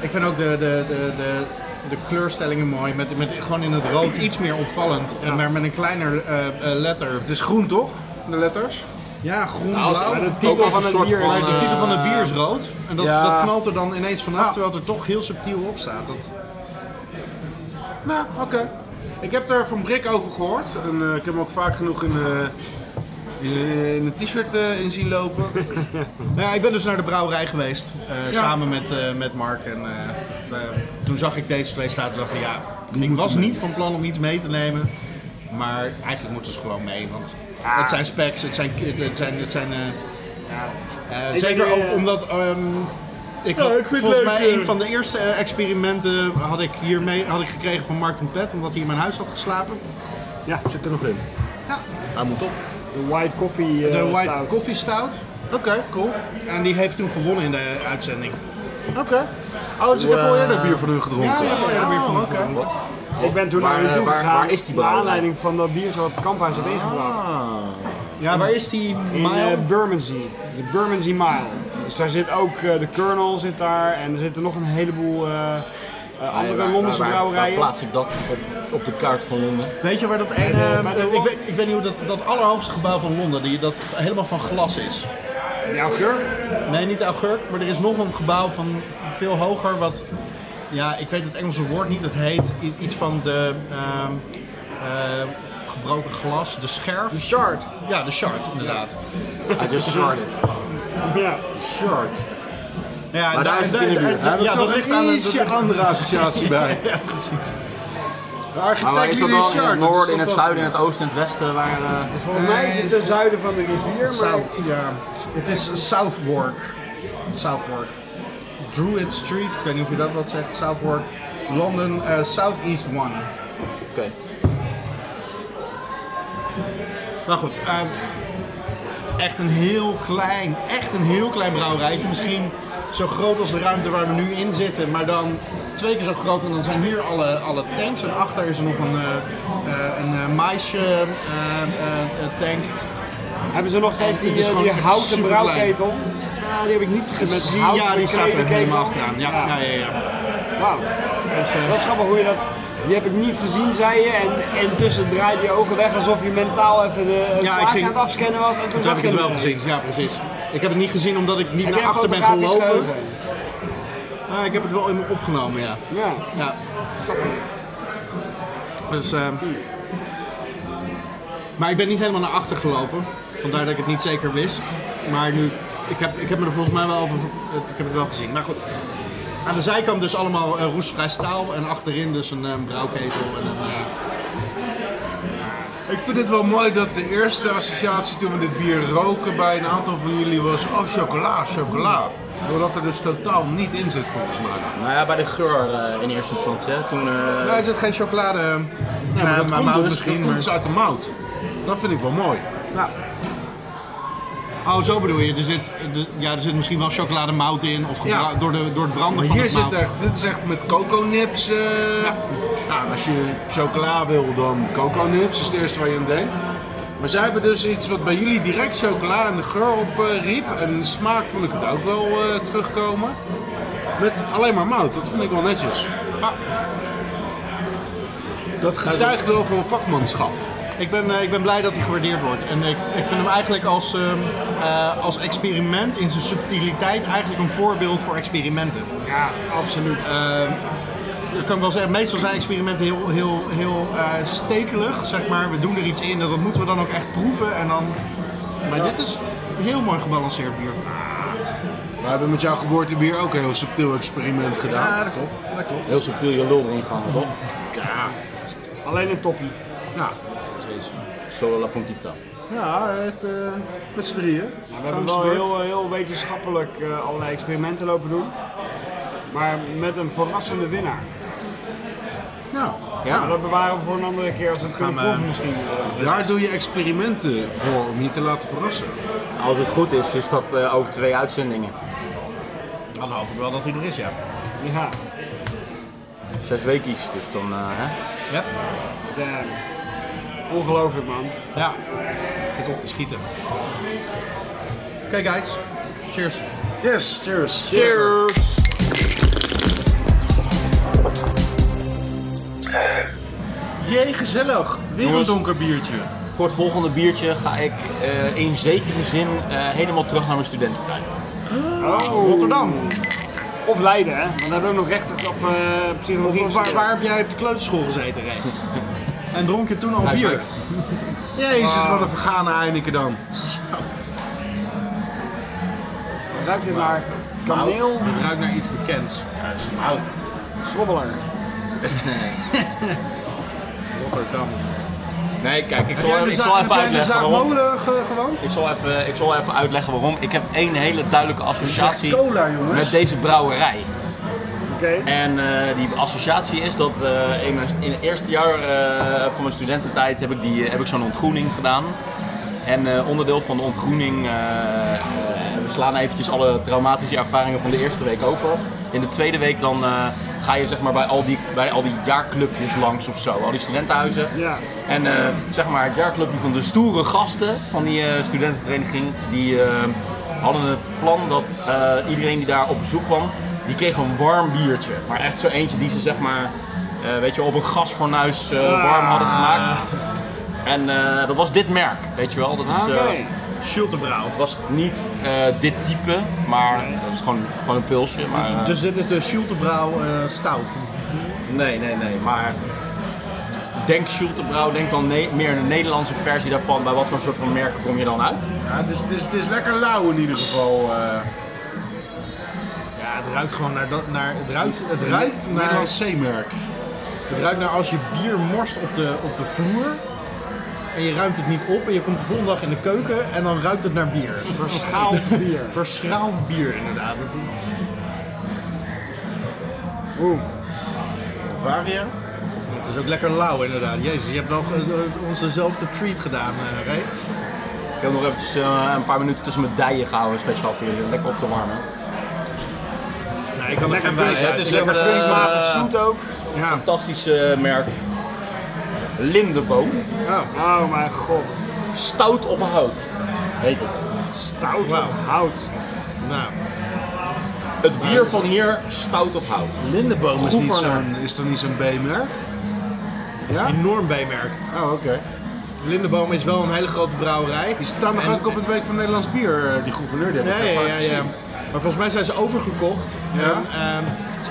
Speaker 5: ik vind ook de, de, de, de, de kleurstellingen mooi. Met, met, gewoon in het rood iets meer opvallend. En Maar met een kleiner eh, eh, letter.
Speaker 2: Het is groen toch? De letters?
Speaker 5: Ja, groen,
Speaker 1: Nou, als-
Speaker 5: blauw.
Speaker 1: maar
Speaker 3: de
Speaker 5: Ook
Speaker 3: titel
Speaker 5: als
Speaker 3: van
Speaker 5: een
Speaker 3: het
Speaker 5: soort
Speaker 3: bier is,
Speaker 5: maar de
Speaker 1: eh,
Speaker 5: titel van het bier is rood. En dat,
Speaker 2: ja.
Speaker 5: dat knalt er dan ineens vanaf. Terwijl het er toch heel subtiel op staat. Dat,
Speaker 2: Nou, oké. Ik heb daar van Brik over gehoord. En, eh, ik heb hem ook vaak genoeg in, eh, in, in een t-shirt eh, in zien lopen.
Speaker 5: Nou ja, ik ben dus naar de brouwerij geweest. eh, Samen met, eh, met Mark. En, eh, eh, toen zag ik deze twee staten en dacht ik, ja, ik was niet van plan om iets mee te nemen. Maar eigenlijk moeten ze gewoon mee. Want het zijn specs, het zijn... Het zijn, het zijn eh, eh,
Speaker 3: Ik
Speaker 5: zeker
Speaker 3: denk, eh,
Speaker 5: ook omdat... ehm, ik
Speaker 2: Ja,
Speaker 5: had,
Speaker 2: ik vind het
Speaker 5: volgens
Speaker 2: leuk,
Speaker 5: mij
Speaker 2: eh.
Speaker 5: een van de eerste eh, experimenten had ik hiermee had ik gekregen van Mark Trompet, omdat hij in mijn huis had geslapen.
Speaker 3: Ja,
Speaker 2: Zit er nog in?
Speaker 5: Ja,
Speaker 1: Hij moet op.
Speaker 3: de white coffee eh
Speaker 5: de White
Speaker 3: stout.
Speaker 5: Coffee Stout.
Speaker 2: Oké, cool.
Speaker 5: En die heeft toen gewonnen in de uitzending.
Speaker 2: Oké. Oh, dus ik heb al
Speaker 1: eh,
Speaker 2: eerder bier van hun gedronken.
Speaker 5: Ja, ja, ja, ja, weer van
Speaker 2: Oh,
Speaker 5: hem
Speaker 2: oké.
Speaker 5: gewonnen.
Speaker 3: Ik ben toen
Speaker 1: Waar,
Speaker 3: naar hen toe
Speaker 1: eh, waar-
Speaker 3: gegaan.
Speaker 1: waar is die
Speaker 3: Naar
Speaker 1: brouwerij?
Speaker 3: aanleiding van dat bier wat Kamphuis had ingebracht.
Speaker 2: Ah.
Speaker 5: Ja, waar is die
Speaker 3: In
Speaker 5: mile?
Speaker 3: eh Bermondsey. De Bermondsey Mile. Dus daar zit ook eh, de Colonel zit daar en er zitten nog een heleboel eh, eh, andere
Speaker 1: Ah, Waar- waar-
Speaker 3: Londense
Speaker 1: waar-
Speaker 3: brouwerijen.
Speaker 1: Waar plaats ik dat op, op de kaart van [LAUGHS] Londen?
Speaker 5: Weet je waar dat ene...
Speaker 3: eh, bij de
Speaker 5: eh, ik,
Speaker 3: Lo-
Speaker 5: weet, ik weet niet hoe dat, dat allerhoogste gebouw van Londen, die, dat helemaal van glas is.
Speaker 3: Ja, geur.
Speaker 5: Nee, niet de Augurk, maar er is nog een gebouw van veel hoger wat... Ja, ik weet het Engelse woord niet, het heet i- iets van de ehm, eh, gebroken glas, de scherf.
Speaker 3: De Shard.
Speaker 5: Ja, de shard, inderdaad.
Speaker 1: I just shard it.
Speaker 3: Ja.
Speaker 2: Short.
Speaker 5: Nou Ja,
Speaker 1: Maar daar is het in de buurt.
Speaker 5: Ja,
Speaker 2: Daar heb ik
Speaker 5: dat
Speaker 2: toch
Speaker 5: ligt
Speaker 2: een
Speaker 5: aan het- dat
Speaker 2: ietsje
Speaker 5: ligt-
Speaker 2: andere associatie bij.
Speaker 5: [LAUGHS] Ja, precies.
Speaker 2: De
Speaker 1: Maar waar is
Speaker 2: architect
Speaker 1: dat
Speaker 2: die
Speaker 1: dan? In het
Speaker 2: Short.
Speaker 1: noorden, in het zuiden, in het oosten, in het westen? Waar, eh,
Speaker 3: Volgens mij zit het ten zuiden van de rivier, maar...
Speaker 5: South, ja. Het is Southwark. Southwark. Druid Street, ik weet niet of je dat wat zegt. Southwark. London, eh Southeast One.
Speaker 1: Oké.
Speaker 5: Maar goed, eh, echt een heel klein, echt een heel klein brouwerijtje. Misschien zo groot als de ruimte waar we nu in zitten, maar dan twee keer zo groot. En dan zijn hier alle, alle tanks. En achter is er nog een, eh, eh, een eh, maisje eh, eh, eh, tank.
Speaker 3: Hebben ze nog steeds die,
Speaker 5: Het is
Speaker 3: eh,
Speaker 5: gewoon
Speaker 3: die
Speaker 5: echt
Speaker 3: houten
Speaker 5: superklein.
Speaker 3: brouwketel?
Speaker 5: Ja, die heb ik niet
Speaker 3: Met
Speaker 5: gezien.
Speaker 3: hout
Speaker 5: ja, die staat er
Speaker 3: beklede
Speaker 5: helemaal
Speaker 3: ketel.
Speaker 5: achteraan. Ja, ja, Dus, eh,
Speaker 3: Ja.
Speaker 5: ja. ja.
Speaker 3: Wauw. Dat is grappig hoe je dat... Die heb ik niet gezien, zei je. En intussen draaide je ogen weg alsof je mentaal even de
Speaker 5: Ja, ik
Speaker 3: ja, plaatje
Speaker 5: ging-
Speaker 3: aan het afscannen was. En toen
Speaker 5: Toen
Speaker 3: zag
Speaker 5: heb ik
Speaker 3: je
Speaker 5: het wel
Speaker 3: ineens.
Speaker 5: gezien, ja precies. Ik heb het niet gezien omdat ik niet
Speaker 3: Heb
Speaker 5: naar
Speaker 3: jij een
Speaker 5: achter ben
Speaker 3: fotografisch
Speaker 5: gelopen.
Speaker 3: geheugen?
Speaker 5: Maar ik heb het wel in me opgenomen, ja.
Speaker 3: Ja.
Speaker 5: ja. Dus, ehm, Maar ik ben niet helemaal naar achter gelopen. Vandaar dat ik het niet zeker wist. Maar nu, ik heb, ik heb me er volgens mij wel over... Ik heb het wel gezien, maar goed. Aan de zijkant dus allemaal eh, ehm, roestvrij staal en achterin dus een eh, brouwketel en een... eh,
Speaker 2: Ik vind het wel mooi dat de eerste associatie toen we dit bier roken bij een aantal van jullie was, oh chocola, chocola. Doordat er dus totaal niet in zit volgens mij.
Speaker 1: Nou ja, bij de geur eh, in eerste instantie. Hè. Toen, eh,
Speaker 5: Nou, er zit geen chocolade. Nee,
Speaker 2: maar dat komt dus, dat
Speaker 5: misschien.
Speaker 2: komt
Speaker 5: maar-
Speaker 2: dus uit de mout. Dat vind ik wel mooi.
Speaker 5: Nou. Oh, zo bedoel je. Er zit, er, ja, er zit misschien wel chocolademout in. Of gebra-
Speaker 2: Ja.
Speaker 5: door, de, door het branden
Speaker 2: Maar
Speaker 5: van
Speaker 2: hier
Speaker 5: het mout.
Speaker 2: zit echt, dit is echt met coconips. eh Nou, als je chocola wil, dan coconips is het eerste waar je aan denkt. Maar zij hebben dus iets wat bij jullie direct chocola en de geur op eh, riep. En de smaak vond ik het ook wel eh, terugkomen. Met alleen maar mout, dat vind ik wel netjes.
Speaker 5: Ah.
Speaker 2: Maar dat getuigt wel van vakmanschap.
Speaker 5: Ik ben, eh, ik ben blij dat hij gewaardeerd wordt. En ik, ik vind hem eigenlijk als, ehm, eh, als experiment in zijn subtiliteit eigenlijk een voorbeeld voor experimenten.
Speaker 3: Ja, absoluut.
Speaker 5: Ehm, dat kan ik wel zeggen, meestal zijn experimenten heel, heel, heel eh, stekelig, zeg maar. We doen er iets in en dat moeten we dan ook echt proeven. En dan... Maar dit is een heel mooi gebalanceerd bier.
Speaker 2: We hebben met jouw geboortebier ook een heel subtiel experiment gedaan.
Speaker 5: dat klopt. Dat klopt.
Speaker 1: Heel subtiel je lul erin gaan, toch?
Speaker 2: Ja,
Speaker 3: Alleen een toppie.
Speaker 2: ja.
Speaker 1: Solo la puntita.
Speaker 2: ja het, eh, met z'n drieën.
Speaker 3: Nou, We hebben wel heel, heel wetenschappelijk eh, allerlei experimenten lopen doen. Maar met een verrassende winnaar.
Speaker 2: Nou,
Speaker 3: Maar dat bewaren we voor een andere keer als we het kunnen
Speaker 5: Gaan we-
Speaker 3: proeven misschien.
Speaker 2: Daar doe je experimenten voor om je te laten verrassen.
Speaker 1: Als het goed is, is dat eh, over twee uitzendingen.
Speaker 5: Dan hoop ik wel dat hij er is, ja.
Speaker 3: Ja,
Speaker 1: Zes weekjes, dus dan... eh, hè?
Speaker 5: Ja,
Speaker 3: damn. Ongelooflijk man.
Speaker 5: ja. Goed op te schieten. Oké, guys. Cheers.
Speaker 2: Yes, cheers.
Speaker 1: Cheers!
Speaker 2: Jee, gezellig. Weer een
Speaker 1: Jongens.
Speaker 2: donker biertje.
Speaker 1: Voor het volgende biertje ga ik eh, in zekere zin eh, helemaal terug naar mijn studententijd.
Speaker 5: Rotterdam.
Speaker 3: Of Leiden hè, want daar hebben we ook nog rechts op eh psychologie.
Speaker 5: Of waar,
Speaker 3: gestudeerd.
Speaker 5: waar heb jij op de kleuterschool gezeten, [LAUGHS] Ray? en dronk je toen al
Speaker 1: Huiswerk.
Speaker 5: bier?
Speaker 2: Jezus, wat een vergane Heineken dan.
Speaker 3: Ruikt het naar kaneel,
Speaker 5: Het ruikt naar iets bekends.
Speaker 3: schrobbeler.
Speaker 2: Rotterdam.
Speaker 1: Nee, kijk, ik zal,
Speaker 5: Heb jij in de
Speaker 1: ik zal
Speaker 5: zaag-
Speaker 1: even
Speaker 5: heb jij in de
Speaker 1: uitleggen waarom.
Speaker 5: zaagmolen ge- gewoond?
Speaker 1: Ik zal, even, ik zal even uitleggen waarom. Ik heb één hele duidelijke associatie
Speaker 2: cola, jongens.
Speaker 1: met deze brouwerij.
Speaker 3: Oké.
Speaker 1: En eh, die associatie is dat eh, in, mijn, in het eerste jaar eh, van mijn studententijd heb ik, die, eh, heb ik zo'n ontgroening gedaan. En eh, onderdeel van de ontgroening, eh, eh, we slaan eventjes alle traumatische ervaringen van de eerste week over. In de tweede week dan eh, ga je zeg maar bij al, die, bij al die jaarclubjes langs of zo, al die studentenhuizen.
Speaker 3: Ja.
Speaker 1: En eh, zeg maar het jaarclubje van de stoere gasten van die eh, studentenvereniging, die eh, hadden het plan dat eh, iedereen die daar op bezoek kwam, die kreeg een warm biertje. Maar echt zo eentje die ze zeg maar, eh, weet je, op een gasfornuis eh, warm hadden gemaakt. En eh, dat was dit merk, weet je wel. Dat is,
Speaker 3: Oké.
Speaker 1: eh,
Speaker 5: Schultebrouw.
Speaker 1: was niet eh, dit type, maar dat is gewoon, gewoon een pulsje. Maar, eh,
Speaker 5: Dus dit is de Schultebrouw eh, stout.
Speaker 1: Nee, nee, nee, maar denk Schultebrouw, denk dan ne- meer een Nederlandse versie daarvan. Bij wat voor soort van merken kom je dan uit?
Speaker 2: Ja, het, is, het, is, het is lekker lauw in ieder geval. eh.
Speaker 5: Ja, het ruikt gewoon naar... dat- naar het ruikt, het ruikt naar...
Speaker 2: Nederlands C-merk.
Speaker 5: Het ruikt naar als je bier morst op de, op de vloer. En je ruimt het niet op en je komt de volgende dag in de keuken en dan ruikt het naar bier.
Speaker 3: Verschaald bier.
Speaker 5: Verschraald bier inderdaad. Het-
Speaker 3: Oeh.
Speaker 2: Varia?
Speaker 5: Het is ook lekker lauw inderdaad. Jezus, je hebt wel eh, ons dezelfde treat gedaan, eh Ray.
Speaker 1: Ik heb nog eventjes eh, een paar minuten tussen mijn dijen gehouden, speciaal voor jullie, om lekker op te warmen.
Speaker 5: Nee, ik kan
Speaker 3: Lekker
Speaker 5: wijs
Speaker 3: kunst-
Speaker 5: uit.
Speaker 1: het is
Speaker 5: Ik heb-
Speaker 1: lekker,
Speaker 3: Lekker kunstmatig
Speaker 1: eh,
Speaker 3: zoet ook.
Speaker 5: Ja.
Speaker 1: Fantastisch eh, merk. Lindeboom.
Speaker 3: Oh mijn god.
Speaker 1: Stout op hout, heet het.
Speaker 3: Stout op
Speaker 5: Wauw.
Speaker 3: hout.
Speaker 5: Nou,
Speaker 1: Het bier van hier, stout op hout.
Speaker 2: Lindeboom is,
Speaker 1: Goed
Speaker 2: niet
Speaker 1: voor
Speaker 2: zo'n, is toch niet zo'n B-merk? Ja?
Speaker 5: enorm B-merk.
Speaker 2: Oh, oké.
Speaker 5: Lindeboom is wel een hele grote brouwerij.
Speaker 2: Die staan nog
Speaker 5: En-
Speaker 2: ook op het Week van Nederlands Bier, eh, die gouverneur. Die heb ik
Speaker 5: Ja, ja,
Speaker 2: vaak
Speaker 5: ja,
Speaker 2: gezien.
Speaker 5: ja. Maar volgens mij zijn ze overgekocht.
Speaker 2: Ja.
Speaker 5: En, ehm,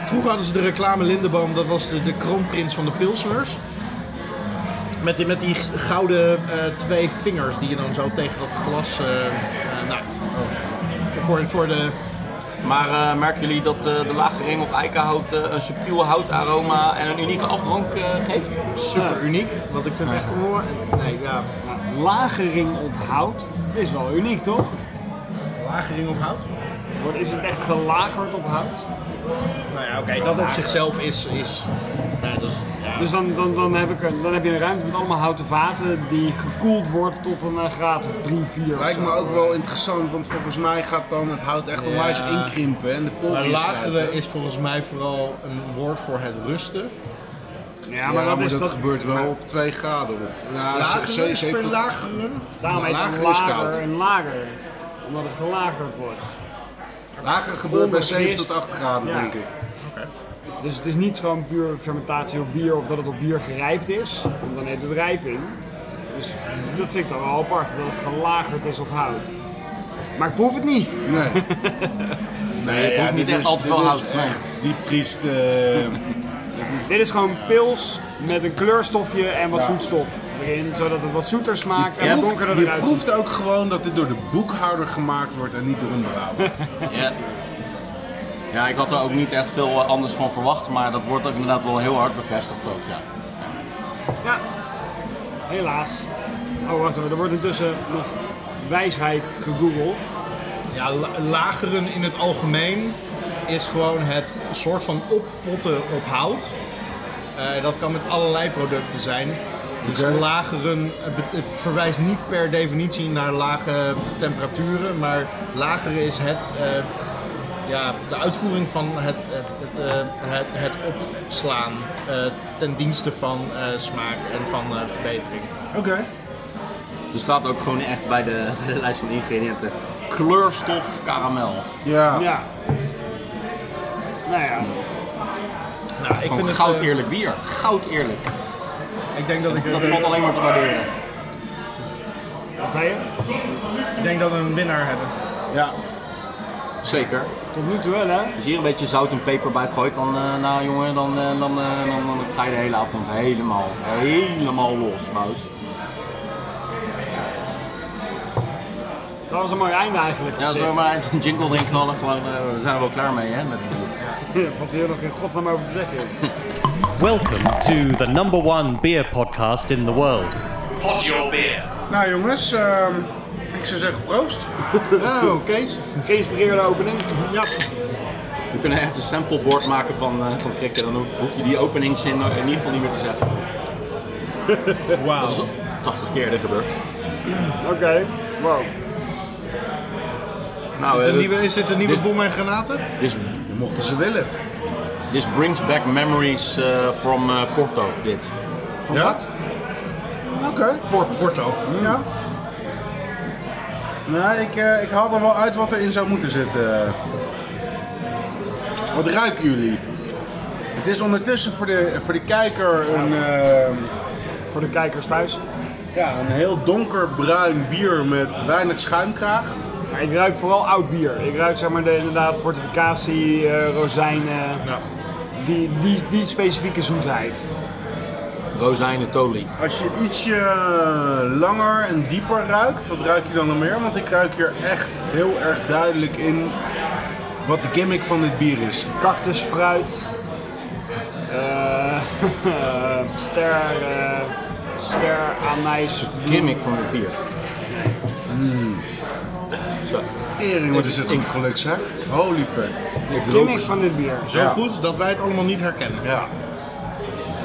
Speaker 5: vroeger hadden ze de reclame Lindeboom, dat was de, de kroonprins van de Pilsners. Met die, met die g- gouden eh, twee vingers die je dan zo tegen dat glas. eh, eh, nou, oh. voor, voor de
Speaker 1: Maar eh, merken jullie dat eh, de lage ring op eikenhout eh, een subtiel houtaroma en een unieke afdronk eh, geeft?
Speaker 5: Super uniek, want ik vind het echt mooi. Nee, ja.
Speaker 3: Lagering op hout is wel uniek, toch?
Speaker 5: Lagering op hout?
Speaker 3: Wordt- Is het echt gelagerd op hout?
Speaker 5: Nou ja, oké, dat op zichzelf is. is nee, dat is ja.
Speaker 3: Dus dan, dan, dan, heb ik een, dan heb je een ruimte met allemaal houten vaten die gekoeld wordt tot een eh, graad of 3, 4 of
Speaker 2: Lijkt
Speaker 3: zo.
Speaker 2: me ook wel interessant, want volgens mij gaat dan het hout echt onwijs
Speaker 5: Ja.
Speaker 2: inkrimpen en de
Speaker 5: maar
Speaker 2: poren
Speaker 5: lagere is volgens mij vooral een woord voor het rusten.
Speaker 3: Ja, maar dat is
Speaker 2: dat,
Speaker 3: dat...
Speaker 2: gebeurt wel op 2 graden. of- Ja,
Speaker 5: Lagere is per
Speaker 2: 70.
Speaker 5: lagere.
Speaker 3: Daarom heet het
Speaker 2: Lager is koud.
Speaker 3: lager en lager. Omdat het gelagerd wordt.
Speaker 2: Lager gebeurt bij
Speaker 3: Onder
Speaker 2: 7
Speaker 3: mist.
Speaker 2: tot 8 graden,
Speaker 3: Ja.
Speaker 2: denk ik.
Speaker 3: Dus het is niet gewoon puur fermentatie op bier of dat het op bier gerijpt is. Want dan heet het rijping. Dus dat vind ik dan wel apart, dat het gelagerd is op hout. Maar ik proef het niet.
Speaker 2: Nee. nee,
Speaker 1: ja,
Speaker 2: proef
Speaker 1: niet
Speaker 2: dit
Speaker 1: echt
Speaker 2: is-
Speaker 1: al te
Speaker 2: dit
Speaker 1: veel
Speaker 2: is
Speaker 1: hout, nee.
Speaker 2: echt diep triest. eh,
Speaker 3: Dit is gewoon pils met een kleurstofje en wat zoetstof erin. Zodat het wat zoeter smaakt en
Speaker 2: je
Speaker 3: wat
Speaker 2: proeft-
Speaker 3: donkerder
Speaker 2: je
Speaker 3: eruit ziet.
Speaker 2: proeft ook gewoon dat dit door de boekhouder gemaakt wordt en niet door een brouwer.
Speaker 1: Ja. Ja, ik had er ook niet echt veel eh, anders van verwacht, maar dat wordt ook inderdaad wel heel hard bevestigd ook, ja.
Speaker 3: Ja, helaas. Oh, wacht even. Er wordt intussen nog wijsheid gegoogeld.
Speaker 5: Ja, la- lageren in het algemeen is gewoon het soort van oppotten op hout. Eh, dat kan met allerlei producten zijn. Dus
Speaker 2: Oké.
Speaker 5: lageren eh, be- het verwijst niet per definitie naar lage temperaturen, maar lageren is het, eh, ja, de uitvoering van het, het, het, eh, het, het opslaan eh, ten dienste van eh, smaak en van eh, verbetering.
Speaker 2: Oké.
Speaker 1: Er staat ook gewoon echt bij de, [LAUGHS] bij de lijst van ingrediënten kleurstof karamel.
Speaker 2: Ja.
Speaker 3: Ja. Nou ja,
Speaker 5: Nou, ik
Speaker 1: Gewoon
Speaker 5: het,
Speaker 1: goud
Speaker 5: eh,
Speaker 1: eerlijk bier. Goud eerlijk.
Speaker 5: Ik denk dat ik
Speaker 1: Dat
Speaker 5: eh,
Speaker 1: valt alleen maar te waarderen.
Speaker 3: wat zei je?
Speaker 5: Ik denk dat we een winnaar hebben.
Speaker 2: ja.
Speaker 1: Zeker.
Speaker 3: Tot nu toe wel, hè?
Speaker 1: Als je hier een beetje zout en peper bij het gooit, dan, eh, nou jongen, dan, eh, dan, eh, dan, dan ga je de hele avond helemaal, helemaal los, Maus.
Speaker 3: Dat was een mooi einde eigenlijk.
Speaker 1: Ja,
Speaker 3: op zich.
Speaker 1: zullen we maar even een jingle erin knallen? Gewoon, eh, we zijn er wel klaar mee, hè? Met het bier.
Speaker 3: [LAUGHS] Wat hier nog in godsnaam over te zeggen is.
Speaker 4: Welcome to the number one beer podcast in the world. Pod your beer.
Speaker 2: Nou jongens, ehm, ik zou zeggen proost.
Speaker 5: Oh, Kees.
Speaker 3: Geïnspireerde opening. Eh,
Speaker 5: Ja.
Speaker 1: We kunnen echt een sampleboard maken van, eh van krikken, dan hoef, hoef je die openingszin in ieder geval niet meer te zeggen.
Speaker 5: [LAUGHS] Wauw.
Speaker 1: Dat is al 80 keer eerder
Speaker 5: [CLEARS THROAT]
Speaker 1: gebeurd.
Speaker 3: Oké, wow.
Speaker 1: Nou,
Speaker 5: Een
Speaker 1: eh,
Speaker 5: nieuwe- Is dit een nieuwe
Speaker 1: dit-
Speaker 5: bom en granaten?
Speaker 1: This,
Speaker 2: Mochten ze willen.
Speaker 1: this brings back memories eh, from eh, Porto, dit.
Speaker 2: Van wat? Oké. Port. Porto. Ja. Nou, ik, eh, ik haal er wel uit wat erin zou moeten zitten. Wat ruiken jullie? Het is ondertussen voor de, voor de kijker een, ehm,
Speaker 3: Voor de kijkers thuis.
Speaker 2: ja, een heel donkerbruin bier met weinig schuimkraag.
Speaker 3: Maar ik ruik vooral oud bier. Ik ruik zeg maar de inderdaad portificatie, eh, rozijnen. Die, die, die specifieke zoetheid.
Speaker 1: Rozijnen Toli.
Speaker 2: Als je ietsje langer en dieper ruikt, wat ruik je dan nog meer? Want ik ruik hier echt heel erg duidelijk in wat de gimmick van dit bier is.
Speaker 3: Cactusfruit. Eh [LAUGHS] ster. eh, [LAUGHS] ster anijs.
Speaker 1: Gimmick van het bier. Zo.
Speaker 2: Tering, wat is het een geluk zeg. Holy fuck.
Speaker 1: Ik
Speaker 3: Gimmick
Speaker 1: rook,
Speaker 3: van dit bier.
Speaker 5: Zo
Speaker 2: Ja.
Speaker 5: goed dat wij het allemaal niet herkennen.
Speaker 2: Ja.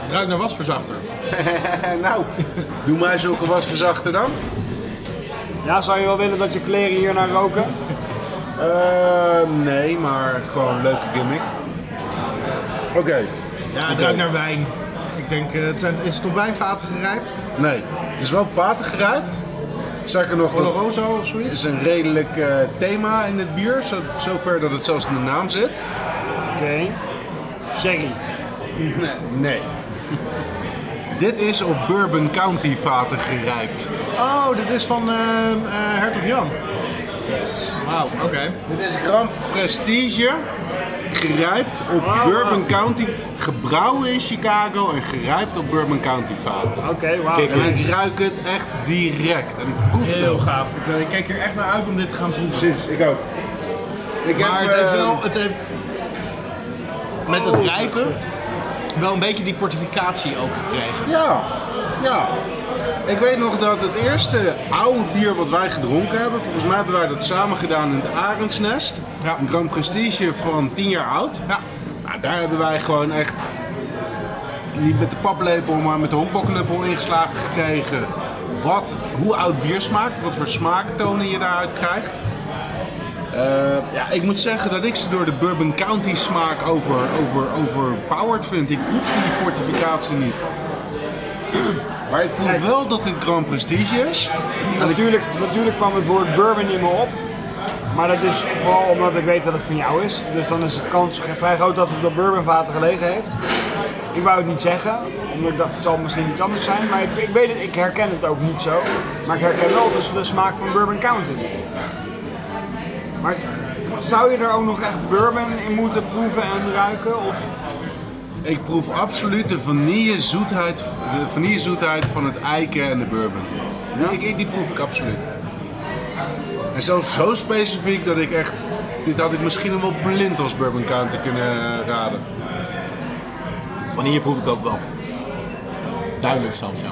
Speaker 5: Het ruikt naar wasverzachter.
Speaker 2: [LAUGHS] nou, doe mij zulke wasverzachter dan.
Speaker 3: Ja, zou je wel willen dat je kleren hier naar roken?
Speaker 2: Eh, nee, maar gewoon een leuke gimmick. Oké.
Speaker 5: Ja, het ruikt naar wijn. Ik denk, eh, het zijn, is het op wijnvaten gerijpt?
Speaker 2: Nee, het is wel op water geruikt. Sterker nog, dat
Speaker 5: Oloroso of zoiets?
Speaker 2: is een redelijk eh, thema in het bier. Zo, zover dat het zelfs in de naam zit.
Speaker 3: Oké. Sherry.
Speaker 2: Nee. [LAUGHS] Dit is op Bourbon County vaten gerijpt.
Speaker 5: Oh, dit is van eh eh, Hertog Jan.
Speaker 2: Yes.
Speaker 5: Wauw, oké.
Speaker 2: Dit is Grand Prestige. Gerijpt op
Speaker 3: Wauw.
Speaker 2: Bourbon County. Gebrouwen in Chicago en gerijpt op Bourbon County vaten.
Speaker 3: Oké, wauw.
Speaker 1: Kijk,
Speaker 2: En ik ruik het echt direct. En ik proef het
Speaker 5: Heel
Speaker 2: ook.
Speaker 5: eh, gaaf. Ik, ben- ik kijk hier echt naar uit om dit te gaan proeven.
Speaker 2: Precies, ik ook. Ik
Speaker 5: Maar
Speaker 2: heb,
Speaker 5: het heeft
Speaker 2: eh,
Speaker 5: wel, het heeft met het
Speaker 2: Oh,
Speaker 5: rijpen wel een beetje die portificatie ook gekregen.
Speaker 2: Ja, ja. Ik weet nog dat het eerste oude bier wat wij gedronken hebben, volgens mij hebben wij dat samen gedaan in het Arendsnest.
Speaker 5: Ja.
Speaker 2: Een Grand Prestige van 10 jaar oud.
Speaker 5: Ja.
Speaker 2: Nou, daar hebben wij gewoon echt, niet met de paplepel, maar met de honkbalknuppel ingeslagen gekregen. Wat, hoe oud bier smaakt, wat voor smaaktonen je daaruit krijgt. Eh, ja, ik moet zeggen dat ik ze door de Bourbon County smaak over, over, overpowered vind. Ik proef die portificatie niet. Maar ik proef wel dat dit Grand Prestige is. En ik-
Speaker 3: Natuurlijk, natuurlijk kwam het woord bourbon in me op. Maar dat is vooral omdat ik weet dat het van jou is. Dus dan is de kans vrij groot dat het op bourbonvaten gelegen heeft. Ik wou het niet zeggen, omdat ik dacht het zal misschien iets anders dus zijn. Maar ik, ik weet het, ik herken het ook niet zo. Maar ik herken wel dus de smaak van Bourbon County. Maar zou je er ook nog echt bourbon in moeten proeven en ruiken? Of
Speaker 2: Ik proef absoluut de vanillezoetheid, de vanillezoetheid van het eiken en de bourbon. Ik, ik- die proef ik absoluut. En zelfs zo specifiek dat ik echt... Dit had ik misschien wel blind als Bourbon County kunnen eh, raden.
Speaker 1: Van hier proef ik ook wel. Duidelijk zelfs, ja.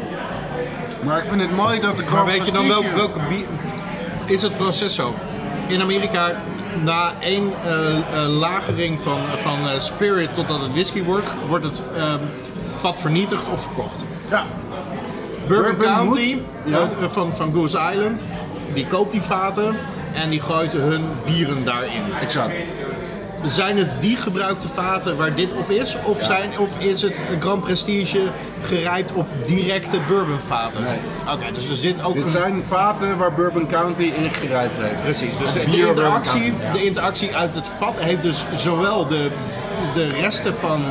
Speaker 2: Maar ik vind het mooi dat de
Speaker 5: Maar
Speaker 2: Grand
Speaker 5: weet je dan welke,
Speaker 2: Prestige-
Speaker 5: welke bier... Is het proces zo? In Amerika, na één eh, eh, lagering van, van eh, spirit totdat het whisky wordt, wordt het eh, vat vernietigd of verkocht.
Speaker 2: Ja,
Speaker 5: Bourbon,
Speaker 2: Bourbon
Speaker 5: County
Speaker 2: moet- ja.
Speaker 5: eh, van, van Goose Island, die koopt die vaten en die gooit hun bieren daarin.
Speaker 2: exact.
Speaker 5: Zijn het die gebruikte vaten waar dit op is? Of, zijn, of is het Grand Prestige gerijpt op directe bourbonvaten?
Speaker 2: Nee.
Speaker 5: Oké, dus, dus dit ook
Speaker 2: Dit
Speaker 5: een-
Speaker 2: zijn vaten waar Bourbon County in gerijpt heeft.
Speaker 5: Precies, dus de,
Speaker 2: bier
Speaker 5: de,
Speaker 2: Bourbon
Speaker 5: interactie,
Speaker 2: County, ja.
Speaker 5: de interactie uit het vat heeft dus zowel de, de resten van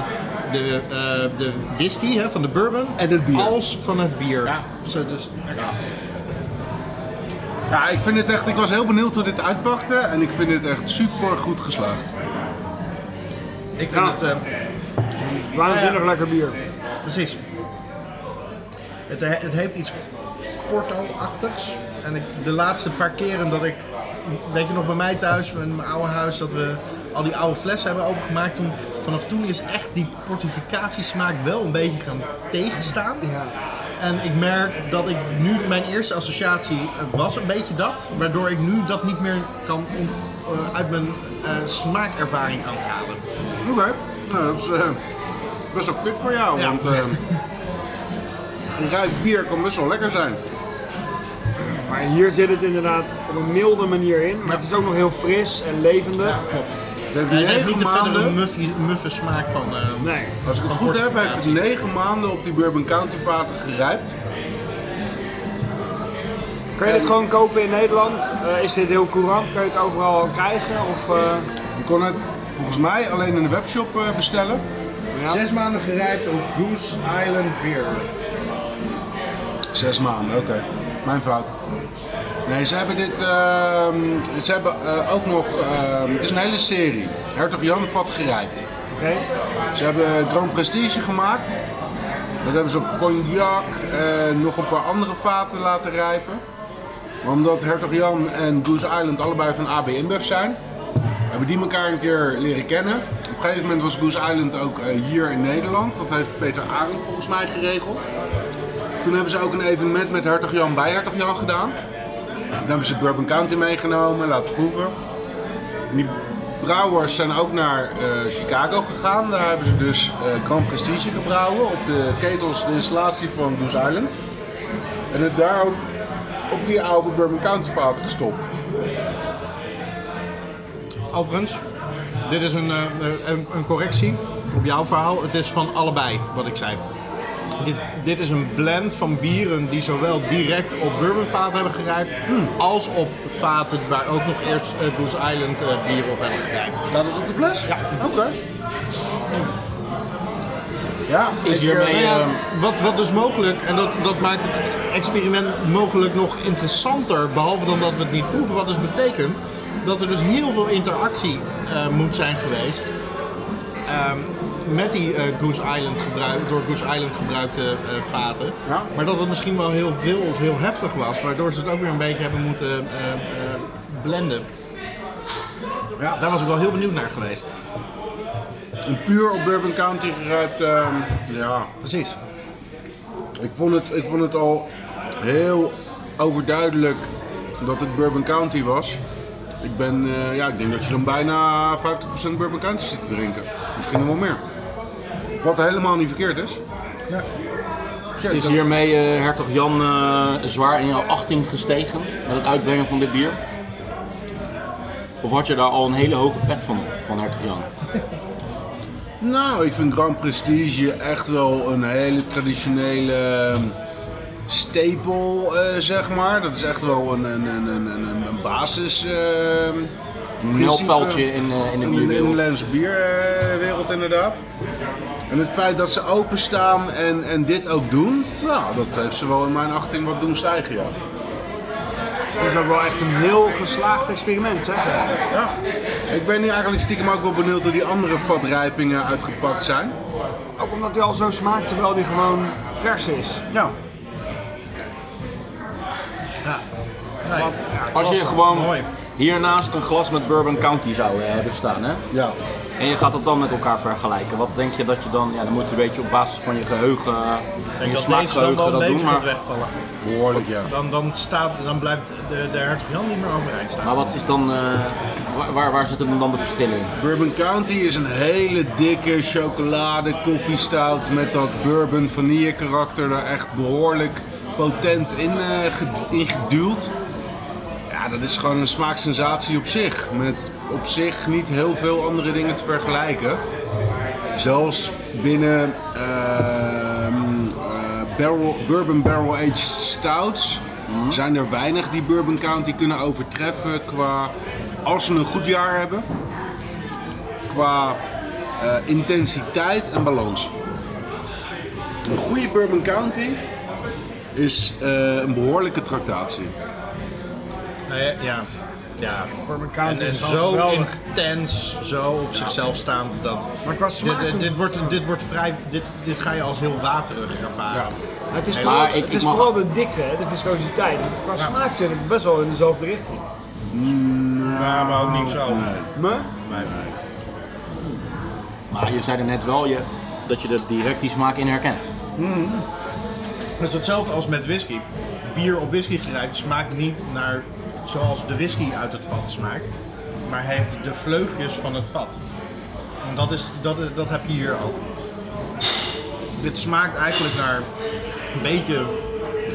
Speaker 5: de, eh, de whisky, hè, van de bourbon,
Speaker 2: En het bier.
Speaker 5: als van het bier. Zo, dus,
Speaker 2: Ja, ik vind het echt... Ik was heel benieuwd hoe dit uitpakte en ik vind het echt super goed geslaagd.
Speaker 5: ik vind
Speaker 3: Ja.
Speaker 5: het... eh,
Speaker 3: waanzinnig lekker bier?
Speaker 5: Precies. Het, he- het heeft iets porto-achtigs. En ik, de laatste paar keren dat ik, weet je nog bij mij thuis, in mijn oude huis, dat we al die oude flessen hebben opengemaakt. Toen, vanaf toen is echt die portificatiesmaak wel een beetje gaan tegenstaan. En ik merk dat ik nu, mijn eerste associatie eh, was een beetje dat. Waardoor ik nu dat niet meer kan ont- eh, uit mijn eh, smaakervaring kan halen.
Speaker 2: Oké, nou dat is eh, best wel kut voor jou,
Speaker 5: Ja.
Speaker 2: want
Speaker 5: [LAUGHS]
Speaker 2: eh gerijpt bier kan best wel lekker zijn.
Speaker 3: Maar hier zit het inderdaad op een milde manier in. Maar het is ook nog heel fris en levendig.
Speaker 5: Klopt.
Speaker 2: Het heeft
Speaker 5: Nee, het heeft
Speaker 2: negen
Speaker 5: niet de verdere
Speaker 2: maanden,
Speaker 5: muffie- muffe smaak van. eh,
Speaker 3: Nee.
Speaker 2: als ik het
Speaker 5: van
Speaker 2: goed heb, heeft het
Speaker 5: portificatie.
Speaker 2: 9 maanden op die Bourbon County vaten gerijpt.
Speaker 3: Kan je dit gewoon kopen in Nederland? Eh, is dit heel courant? Kan je het overal krijgen? Of, eh,
Speaker 2: Je kon het volgens mij alleen in de webshop eh, bestellen.
Speaker 3: ja.
Speaker 5: Zes maanden gerijpt op Goose Island Beer.
Speaker 2: Zes maanden, oké. Mijn fout. Nee, ze hebben dit, ehm, ze hebben eh, ook nog, ehm, het is een hele serie. Hertog Jan vat gerijpt.
Speaker 3: Oké.
Speaker 2: Ze hebben Grand Prestige gemaakt. Dat hebben ze op cognac en nog een paar andere vaten laten rijpen. Maar omdat Hertog Jan en Goose Island allebei van AB InBev zijn, hebben die elkaar een keer leren kennen. Op een gegeven moment was Goose Island ook eh, hier in Nederland. Dat heeft Peter Arendt volgens mij geregeld. Toen hebben ze ook een evenement met Hertog Jan bij Hertog Jan gedaan. Daar hebben ze Bourbon County meegenomen, laten proeven. En die brouwers zijn ook naar eh, Chicago gegaan. Daar hebben ze dus eh Grand Prestige gebrouwen op de ketels, de installatie van Goose Island. En het daar ook op die oude Bourbon County vaten gestopt.
Speaker 5: Overigens, dit is een, eh, eh, een, een correctie op jouw verhaal. Het is van allebei wat ik zei. Dit, dit is een blend van bieren die zowel direct op bourbonvaten hebben gerijpt, als op vaten waar ook nog eerst eh, Goose Island eh, bier op hebben gerijpt.
Speaker 2: Staat het op de fles?
Speaker 5: Ja.
Speaker 2: Oké. Ja,
Speaker 1: Is
Speaker 2: ik,
Speaker 1: hiermee-
Speaker 2: eh,
Speaker 5: Nou ja,
Speaker 1: Ehm,
Speaker 5: wat, wat dus mogelijk, en dat, dat maakt het experiment mogelijk nog interessanter, behalve dan dat we het niet proeven, wat dus betekent dat er dus heel veel interactie eh, moet zijn geweest ehm, met die eh, Goose Island gebruik, door Goose Island gebruikte eh, vaten.
Speaker 2: Ja.
Speaker 5: Maar dat het misschien wel heel veel of heel heftig was, waardoor ze het ook weer een beetje hebben moeten eh, eh, blenden.
Speaker 2: Ja.
Speaker 5: Daar was ik wel heel benieuwd naar geweest.
Speaker 2: Een puur op Bourbon County geruipt, ehm, ja.
Speaker 5: Precies.
Speaker 2: Ik vond, het, ik vond het al heel overduidelijk dat het Bourbon County was. Ik ben, eh, ja, ik denk dat je dan bijna 50% Bourbon County zit te drinken. Misschien nog wel meer. Wat helemaal niet verkeerd is. Ja.
Speaker 1: Is hiermee eh, hertog Jan eh, zwaar in jouw achting gestegen met het uitbrengen van dit bier? Of had je daar al een hele hoge pet van, op, van hertog Jan?
Speaker 2: Nou, ik vind Grand Prestige echt wel een hele traditionele ehm, stapel, eh, zeg maar. Dat is echt wel een, een, een, een, een, een basis. ehm,
Speaker 1: Een
Speaker 2: principe.
Speaker 1: knelpijltje in, eh, in de
Speaker 2: In de
Speaker 1: bierwereld.
Speaker 2: Nederlandse bierwereld inderdaad. En het feit dat ze openstaan en, en dit ook doen, nou, dat heeft ze wel in mijn achting wat doen stijgen, ja.
Speaker 3: Dat is ook wel echt een heel geslaagd experiment, zeg.
Speaker 2: ja. Ik ben nu eigenlijk stiekem ook wel benieuwd hoe die andere vatrijpingen uitgepakt zijn.
Speaker 3: Ook omdat hij al zo smaakt terwijl hij gewoon vers is.
Speaker 2: Ja.
Speaker 1: Als je gewoon
Speaker 5: Mooi.
Speaker 1: hiernaast een glas met Bourbon County zou eh, hebben staan, hè?
Speaker 2: Ja.
Speaker 1: En je gaat dat dan met elkaar vergelijken. Wat denk je dat je dan, ja, dan moet je een beetje op basis van je geheugen, van
Speaker 5: Ik
Speaker 1: je
Speaker 5: denk dat deze dan
Speaker 1: smaakgeheugen
Speaker 5: wel
Speaker 1: dat
Speaker 5: een
Speaker 1: doen.
Speaker 5: beetje gaat
Speaker 1: Maar,
Speaker 5: wegvallen.
Speaker 2: Behoorlijk, ja.
Speaker 5: Dan, dan, staat, dan blijft de, de hertog Jan niet meer overeind staan.
Speaker 1: maar wat is dan, eh, waar, waar, waar zitten dan de verschillen in?
Speaker 2: Bourbon County is een hele dikke chocolade koffiestout met dat bourbon vanille karakter er echt behoorlijk potent in, eh, ge- in geduwd. Ja, dat is gewoon een smaaksensatie op zich. Met op zich niet heel veel andere dingen te vergelijken. Zelfs binnen ehm, eh, barrel, bourbon barrel aged stouts zijn er weinig die Bourbon County kunnen overtreffen qua als ze een goed jaar hebben qua eh, intensiteit en balans. Een goede Bourbon County is eh, een behoorlijke tractatie.
Speaker 5: Nee, ja. Ja.
Speaker 3: Bourbon
Speaker 5: En,
Speaker 3: County
Speaker 5: en
Speaker 3: is wel
Speaker 5: zo
Speaker 3: geweldig.
Speaker 5: intens, zo op zichzelf staand dat.
Speaker 3: Maar qua
Speaker 5: Dit, eh,
Speaker 3: smaak...
Speaker 5: dit, dit wordt, dit wordt vrij. Dit, dit ga je als heel waterig ervaren.
Speaker 3: het is,
Speaker 1: Maar
Speaker 3: vooral,
Speaker 1: ik-
Speaker 3: het
Speaker 1: ik
Speaker 3: is
Speaker 1: mag-
Speaker 3: vooral de dikte, hè, de viscositeit. Want qua smaak zit het best wel in dezelfde richting.
Speaker 5: Ja, Nou, maar ook niet zo.
Speaker 3: Maar
Speaker 5: Nee, nee.
Speaker 1: Maar je zei er net wel je, dat je er direct die smaak in herkent.
Speaker 5: Het is hetzelfde als met whisky. Bier op whisky gerijpt smaakt niet naar zoals de whisky uit het vat smaakt, maar heeft de vleugjes van het vat. En dat, is, dat, dat heb je hier ook. Dit smaakt eigenlijk naar een beetje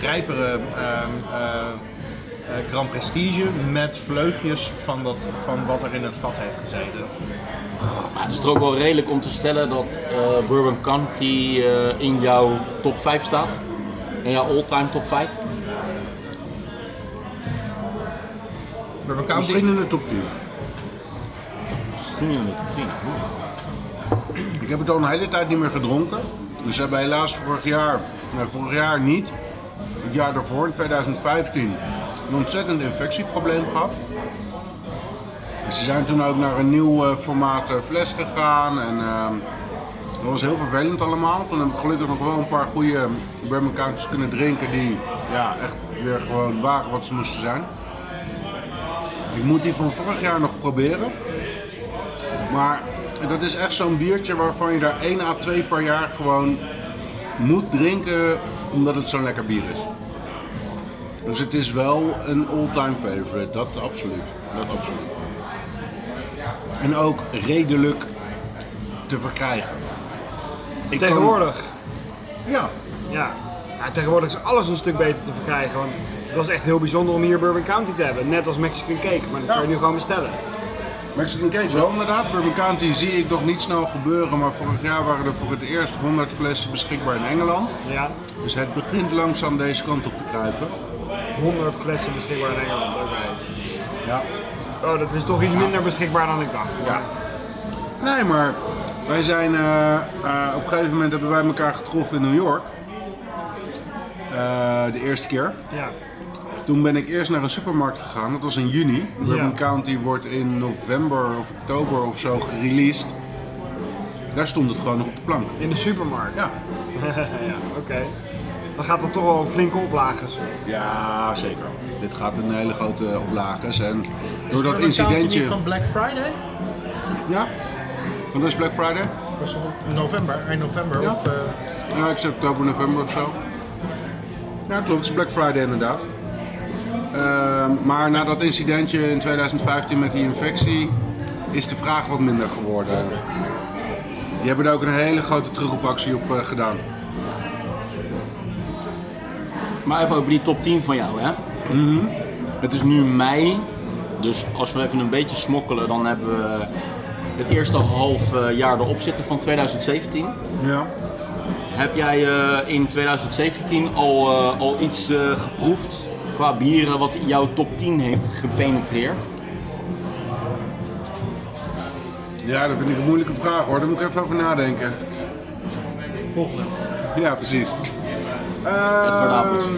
Speaker 5: rijpere ehm, eh, eh, Grand Prestige met vleugjes van, dat, van wat er in het vat heeft gezeten.
Speaker 1: Maar het is toch ook wel redelijk om te stellen dat eh, Bourbon County eh, in jouw top 5 staat. In jouw all-time top 5.
Speaker 5: Bourbon County-
Speaker 2: Misschien in de top 10.
Speaker 1: Misschien in de top 10.
Speaker 2: Ik heb het al een hele tijd niet meer gedronken. Dus hebben helaas vorig jaar, nee, vorig jaar niet, het jaar daarvoor, in 2015, een ontzettend infectieprobleem gehad. Dus ze zijn toen ook naar een nieuw eh, formaat eh, fles gegaan en ehm, dat was heel vervelend allemaal. Toen heb ik gelukkig nog wel een paar goede Bourbon Counties kunnen drinken die ja, echt weer gewoon waren wat ze moesten zijn. Ik moet die van vorig jaar nog proberen. Maar dat is echt zo'n biertje waarvan je daar 1 à 2 per jaar gewoon moet drinken omdat het zo'n lekker bier is. Dus het is wel een all-time favorite, dat absoluut. Dat absoluut. En ook redelijk te verkrijgen. Ik kan-
Speaker 3: tegenwoordig...
Speaker 2: ja,
Speaker 3: Ja. Ja, tegenwoordig is alles een stuk beter te verkrijgen, want het was echt heel bijzonder om hier Bourbon County te hebben. Net als Mexican Cake, maar dat kan je nu gewoon bestellen.
Speaker 2: Mexican Cage wel inderdaad. Bourbon County zie ik nog niet snel gebeuren, maar vorig jaar waren er voor het eerst 100 flessen beschikbaar in Engeland.
Speaker 3: Ja.
Speaker 2: Dus het begint langzaam deze kant op te kruipen.
Speaker 3: 100 flessen beschikbaar in Engeland.
Speaker 2: Ja.
Speaker 3: Oh, dat is toch iets minder beschikbaar dan ik dacht. Ja.
Speaker 2: Nee, maar wij zijn. eh, eh, op een gegeven moment hebben wij elkaar getroffen in New York. Eh, de eerste keer.
Speaker 3: ja.
Speaker 2: Toen ben ik eerst naar een supermarkt gegaan, dat was in juni. Bourbon County wordt in november of oktober of zo gereleased. Daar stond het gewoon nog op de plank.
Speaker 3: [LAUGHS] In de supermarkt.
Speaker 2: Ja.
Speaker 3: Ja, Oké. dan gaat dat toch wel flinke oplages.
Speaker 2: Ja, zeker. Dit gaat een hele grote oplages. En door dat
Speaker 5: Maar betaalt hij
Speaker 2: incidentje.
Speaker 5: niet van Black Friday?
Speaker 2: Ja? Want dat is Black Friday?
Speaker 5: Dat is toch in november, eind november?
Speaker 2: Ja.
Speaker 5: Of, eh,
Speaker 2: Ja, ik zeg oktober, november of zo. Ja, klopt. Het is Black Friday inderdaad. Ehm, maar na dat incidentje in 2015 met die infectie is de vraag wat minder geworden. Die hebben daar ook een hele grote terugroepactie op eh, gedaan.
Speaker 1: Maar even over die top 10 van jou, hè? Mhm. Het is nu mei, dus als we even een beetje smokkelen, dan hebben we het eerste half eh, jaar erop zitten van 2017.
Speaker 2: Ja.
Speaker 1: Heb jij eh, in 2017 al, eh, al iets eh, geproefd qua bieren wat jouw top 10 heeft gepenetreerd?
Speaker 2: Ja, dat vind ik een moeilijke vraag hoor. Daar moet ik even over nadenken.
Speaker 5: volgende.
Speaker 2: Ja, precies.
Speaker 1: Edgar Davids.
Speaker 2: Ehm,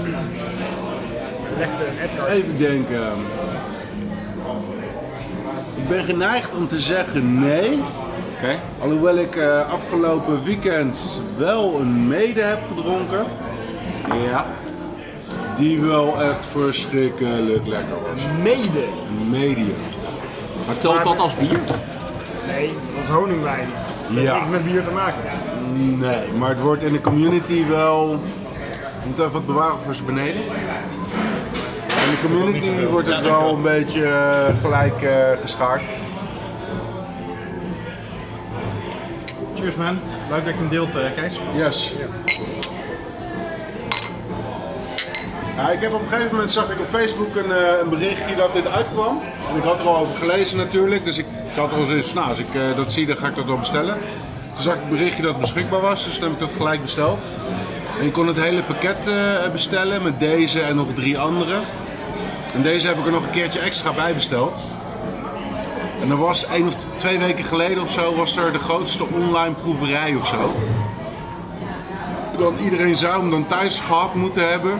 Speaker 3: Lechter en eh, Edgar.
Speaker 2: Even denken. Ik ben geneigd om te zeggen nee.
Speaker 1: Oké.
Speaker 2: Alhoewel ik eh, afgelopen weekend wel een mede heb gedronken.
Speaker 1: Ja.
Speaker 2: Die wel echt verschrikkelijk lekker was.
Speaker 3: Mede.
Speaker 2: Een Medium.
Speaker 1: Maar telt dat als bier?
Speaker 3: Nee, dat is honingwijn. Dat heeft
Speaker 2: Ja.
Speaker 3: niks met bier te maken.
Speaker 2: Nee, maar het wordt in de community wel. Ik moet even wat bewaren voor ze beneden. In de community wordt het wel een beetje eh, gelijk eh, geschaard.
Speaker 5: Cheers man, leuk dat je hem deelt eh Kees.
Speaker 2: Yes. Ja, ik heb op een gegeven moment zag ik op Facebook een, eh, een berichtje dat dit uitkwam. En ik had er al over gelezen natuurlijk, dus ik, ik had al zoiets nou als ik eh, dat zie dan ga ik dat wel bestellen. Toen zag ik een berichtje dat het beschikbaar was, dus toen heb ik dat gelijk besteld. En je kon het hele pakket eh, bestellen met deze en nog drie andere. En deze heb ik er nog een keertje extra bij besteld. En er was één of t- twee weken geleden of zo was er de grootste online proeverij of zo dan iedereen zou hem dan thuis gehad moeten hebben.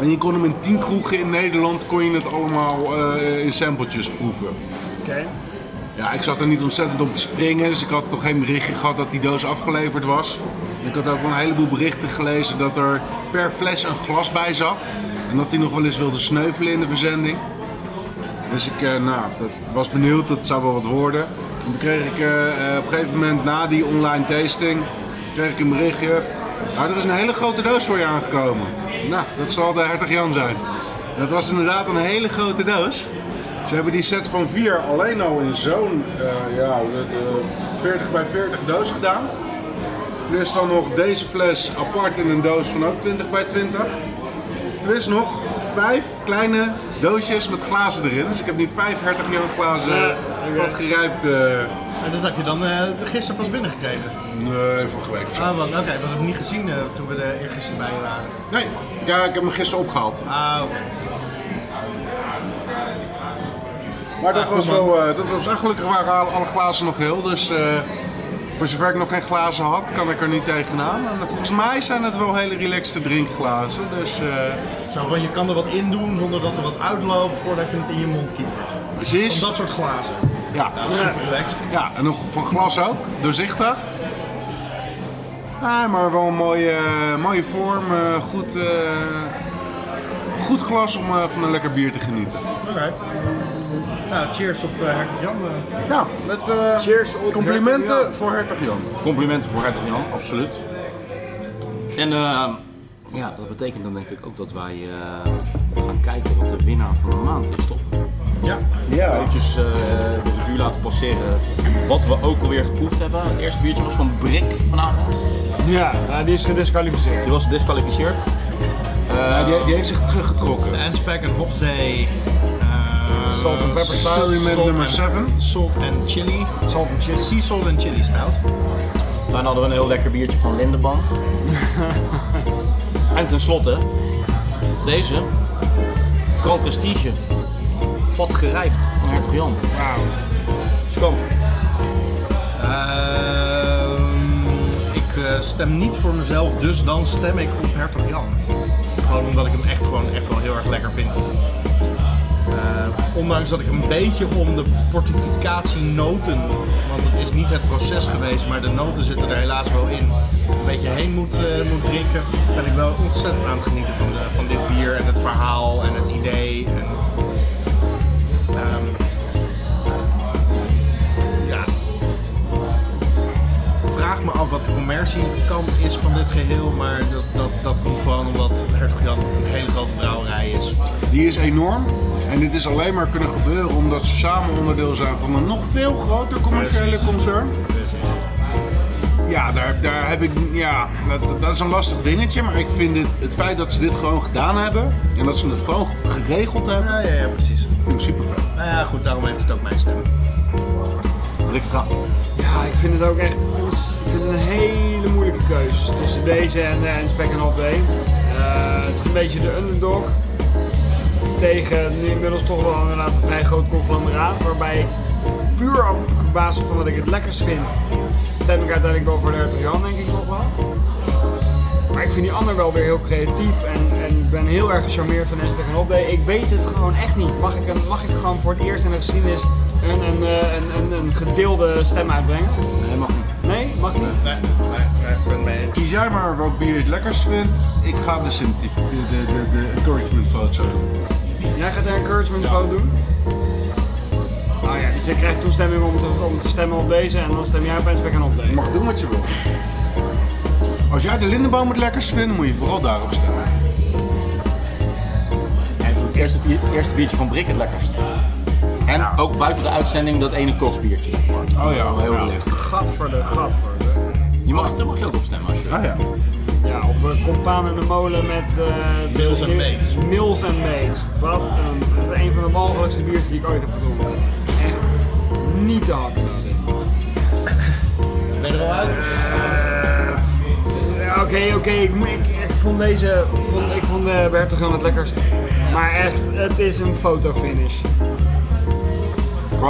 Speaker 2: En je kon hem in tien kroegen in Nederland kon je het allemaal eh, in sampletjes proeven.
Speaker 3: Oké.
Speaker 2: Ja, ik zat er niet ontzettend op te springen, dus ik had toch geen berichtje gehad dat die doos afgeleverd was. En Ik had ook wel een heleboel berichten gelezen dat er per fles een glas bij zat. En dat hij nog wel eens wilde sneuvelen in de verzending. Dus ik eh, nou, dat was benieuwd, dat zou wel wat worden. En toen kreeg ik eh, eh, op een gegeven moment na die online tasting, kreeg ik een berichtje. Nou, er is een hele grote doos voor je aangekomen. Nou, dat zal de Hertog Jan zijn. En Dat was inderdaad een hele grote doos. Ze hebben die set van vier alleen al in zo'n eh, ja, de- de 40 eh, bij 40 doos gedaan. Plus dan nog deze fles apart in een doos van ook 20 bij 20. Plus nog vijf kleine doosjes met glazen erin. Dus ik heb nu vijf hertog Jan glazen
Speaker 3: Ja, oké.
Speaker 2: wat gerijpt. eh,
Speaker 5: En dat heb je dan eh, gisteren pas binnengekregen.
Speaker 2: nee, vorige week of zo.
Speaker 5: Ah, want oké, we hebben hem niet gezien eh, toen we er eergisteren bij je waren.
Speaker 2: Nee, ja, ik heb hem gisteren opgehaald.
Speaker 5: Ah, oké.
Speaker 2: Maar dat
Speaker 5: Ah,
Speaker 2: was
Speaker 5: goed, man.
Speaker 2: wel, eh, dat was, en gelukkig waren alle, alle glazen nog heel, dus eh, voor zover ik nog geen glazen had, kan ik er niet tegenaan. En volgens mij zijn het wel hele relaxte drinkglazen, dus eh,
Speaker 5: Zo van, je kan er wat in doen zonder dat er wat uitloopt voordat je het in je mond kiepert. Van
Speaker 2: precies.
Speaker 5: dat soort glazen.
Speaker 2: Ja.
Speaker 5: Nou, dat is super relaxed.
Speaker 2: ja, en nog van glas ook, doorzichtig. Ah, maar wel een mooie, eh, mooie vorm, eh, goed, eh, goed glas om eh, van een lekker bier te genieten.
Speaker 5: Oké. Nou, cheers op eh Hertog Jan. eh.
Speaker 2: Nou, met, eh,
Speaker 3: Cheers op
Speaker 2: complimenten
Speaker 3: Hertog Jan.
Speaker 2: voor Hertog Jan.
Speaker 1: Complimenten voor Hertog Jan, absoluut. En eh, ja, dat betekent dan denk ik ook dat wij eh, gaan kijken wat de winnaar van de maand is, toch?
Speaker 5: Ja.
Speaker 1: Ja. Eventjes eh, de revue laten passeren wat we ook alweer geproefd hebben. Het eerste biertje was van Brik vanavond.
Speaker 3: Ja, nou, die is gedisqualificeerd.
Speaker 1: Die was gedisqualificeerd.
Speaker 2: Ja, Eh, die, die heeft zich teruggetrokken.
Speaker 5: De Anspec en Hopzee. eh,
Speaker 3: Salt and pepper stout.
Speaker 2: Sorry met
Speaker 5: Salt
Speaker 2: nummer
Speaker 5: and-
Speaker 2: 7.
Speaker 5: Salt and chili.
Speaker 3: Salt and chili.
Speaker 5: Sea salt and chili stout.
Speaker 1: Daarna hadden we een heel lekker biertje van
Speaker 2: [LAUGHS]
Speaker 1: Lindeban. en tenslotte deze. Grand Prestige. Vat gerijpt van Hertog Jan.
Speaker 3: Wauw.
Speaker 1: Schoon.
Speaker 5: Ehm, ik eh, stem niet voor mezelf, dus dan stem ik op Hertog Jan. Gewoon omdat ik hem echt, gewoon echt wel heel erg lekker vind. Eh, Ondanks dat ik een beetje om de portificatie noten, want het is niet het proces geweest, maar de noten zitten er helaas wel in, een beetje heen moet, eh, moet drinken, ben ik wel ontzettend aan het genieten van, de- van dit bier en het verhaal en het idee. En, ehm, ja. Ik vraag me af wat de commerciekant is van dit geheel, maar dat, dat, dat komt gewoon omdat Hertog Jan een hele grote brouwerij is.
Speaker 2: Die is enorm. En dit is alleen maar kunnen gebeuren omdat ze samen onderdeel zijn van een nog veel groter commerciële
Speaker 5: Precies.
Speaker 2: concern.
Speaker 5: Precies.
Speaker 2: Ja, daar, daar heb ik. Ja, dat, dat is een lastig dingetje. Maar ik vind dit, het feit dat ze dit gewoon gedaan hebben. En dat ze het gewoon geregeld hebben.
Speaker 5: Ja, ja, ja, precies.
Speaker 2: Vind ik super vet.
Speaker 5: Nou ja, goed, daarom heeft het ook mijn stem.
Speaker 1: Rikstra.
Speaker 3: Ja, ik vind het ook echt ons- ik vind het een hele moeilijke keus tussen deze en, eh, en Spek en Hop Day. Eh, het is een beetje de underdog tegen nu inmiddels toch wel inderdaad een vrij groot conglomeraat. Waarbij ik puur op basis van wat ik het lekkerst vind, stem ik uiteindelijk wel voor de Hertog Jan denk ik nog wel. Maar ik vind die ander wel weer heel creatief en, en ik ben heel erg gecharmeerd van Aspect en Hopday. Ik weet het gewoon echt niet. Mag ik, een, mag ik gewoon voor het eerst in de geschiedenis een, een, eh, een, een, een gedeelde stem uitbrengen?
Speaker 1: Nee, mag niet.
Speaker 3: Nee, mag niet.
Speaker 5: Nee, nee, nee, ik ben mee.
Speaker 2: Kies jij maar welk bier je het lekkerst vindt. Ik ga de, sympathy, de, de, de, de encouragement vote zo doen.
Speaker 3: Jij gaat een encouragement vote doen? Nou ja, dus ik krijg toestemming om te, om te stemmen op deze en dan stem jij op Aspect en Hopday.
Speaker 2: Je mag doen wat je wil. Als jij de lindenboom het lekkerst vindt, moet je vooral daarop stemmen.
Speaker 1: En voor het eerste, bier- eerste biertje van Brik het lekkerst. En ook buiten de uitzending dat ene kotsbiertje.
Speaker 2: Oh ja,
Speaker 1: Heel
Speaker 2: ja.
Speaker 1: licht.
Speaker 3: Gadverde, gadverde.
Speaker 1: Je mag, daar mag je ook op stemmen als je wil.
Speaker 2: Ah ja.
Speaker 3: Ja, op eh, Compaan en de Molen met... eh,
Speaker 5: Mills en Mates.
Speaker 3: Mills en Mates. Wat een, dat is een van de walgelijkste biertjes die ik ooit heb gedronken. Echt niet te hard
Speaker 5: [COUGHS] Ben je er al uit?
Speaker 3: Ja, Oké, Eh, oké, ik, ik, ik vond deze, ik vond, ik vond eh, de Bertha gewoon het lekkerst. Maar echt, het is een fotofinish.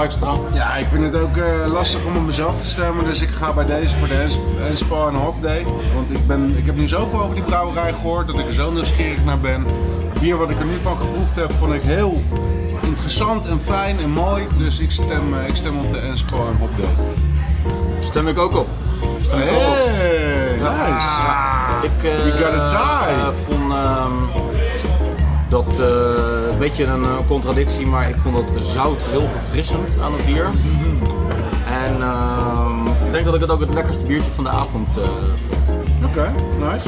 Speaker 1: Rikstra.
Speaker 2: Ja, ik vind het ook eh, lastig om op mezelf te stemmen, dus ik ga bij deze voor de Hens- Henspa en Hop Day. Want ik, ben, ik heb nu zoveel over die brouwerij gehoord dat ik er zo nieuwsgierig naar ben. Bier wat ik er nu van geproefd heb, vond ik heel interessant en fijn en mooi. Dus ik stem, eh, ik stem op de Henspa en Hop Day.
Speaker 1: Stem ik ook op. Stem ik ook op.
Speaker 2: Hey, nice.
Speaker 1: Ik eh,
Speaker 2: You got a tie.
Speaker 1: eh, vond ehm, dat eh, een beetje een eh, contradictie, maar ik vond dat zout heel verfrissend aan het bier. En ehm, ik denk dat ik het ook het lekkerste biertje van de avond eh, vond.
Speaker 2: Oké, nice.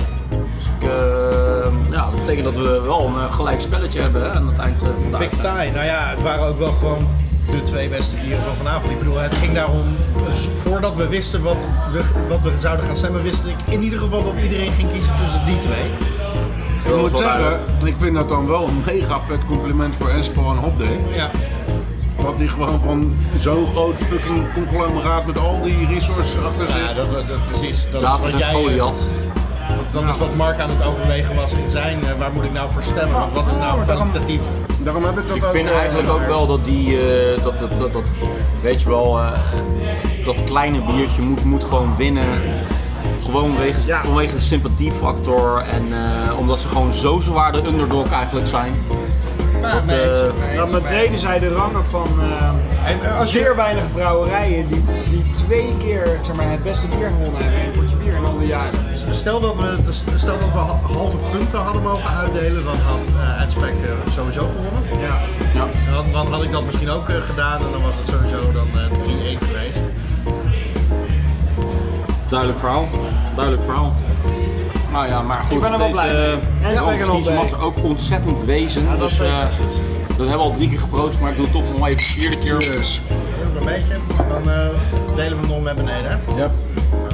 Speaker 1: Dus ik, eh, ja, dat betekent dat we wel een eh, gelijk spelletje hebben hè, aan het eind eh, van de
Speaker 5: Big
Speaker 1: uitzending.
Speaker 5: Tie. Nou ja, het waren ook wel gewoon de twee beste bieren van vanavond. Ik bedoel, het ging daarom, dus voordat we wisten wat we, wat we zouden gaan stemmen, wist ik in ieder geval dat iedereen ging kiezen tussen die twee.
Speaker 2: Ik
Speaker 1: Dat was
Speaker 2: moet
Speaker 1: wel
Speaker 2: zeggen,
Speaker 1: duidelijk.
Speaker 2: ik vind dat dan wel een mega vet compliment voor Henspa en Hop Day.
Speaker 5: Ja,
Speaker 2: Dat die gewoon van zo'n groot fucking conglomeraat met al die resources achter zich.
Speaker 5: ja dat, dat, dat- precies. Dat is
Speaker 1: David
Speaker 5: wat
Speaker 1: en
Speaker 5: jij, eh,
Speaker 1: Goliath.
Speaker 5: dat is wat Mark aan het overwegen was in zijn, eh, waar moet ik nou voor stemmen? Want wat is nou
Speaker 2: Ah, daarom-
Speaker 5: kwalitatief?
Speaker 2: Daarom heb ik dat
Speaker 1: Ik
Speaker 2: ook,
Speaker 1: vind
Speaker 2: eh,
Speaker 1: eigenlijk ook wel dat die, eh, dat, dat, dat, dat, weet je wel, eh, dat kleine biertje moet, moet gewoon winnen. Gewoon wegens,
Speaker 3: Ja.
Speaker 1: vanwege de sympathiefactor en eh, omdat ze gewoon zo zwaar de underdog eigenlijk zijn.
Speaker 5: Nou, mee
Speaker 1: eh,
Speaker 5: eens, mee eens,
Speaker 3: Dan met
Speaker 5: mee eens.
Speaker 3: reden zij de rangen van eh,
Speaker 5: En, eh, als je-
Speaker 3: zeer weinig brouwerijen die, die twee keer zeg maar, het beste bier gewonnen hebben in een potje bier in al die jaren.
Speaker 5: Stel dat we, dus stel dat we ha- halve punten hadden mogen uitdelen, dan had eh Uitspek eh, sowieso gewonnen.
Speaker 3: Ja.
Speaker 1: Ja.
Speaker 5: En Dan, dan had ik dat misschien ook eh, gedaan en dan was het sowieso dan eh 3-1 geweest.
Speaker 1: Duidelijk verhaal. Duidelijk verhaal. Nou ja, maar goed.
Speaker 3: Ik ben er wel blij mee. En ze
Speaker 1: En
Speaker 3: werken nog
Speaker 1: competitie
Speaker 3: mee.
Speaker 1: mag er ook ontzettend wezen.
Speaker 3: dat
Speaker 1: dus
Speaker 3: zeker.
Speaker 1: eh, dat hebben we al drie keer geproost, maar ik doe het toch nog even de vierde keer.
Speaker 2: Cheers.
Speaker 5: Heel een beetje, maar dan eh, delen we hem nog met beneden. Hè?
Speaker 2: Ja.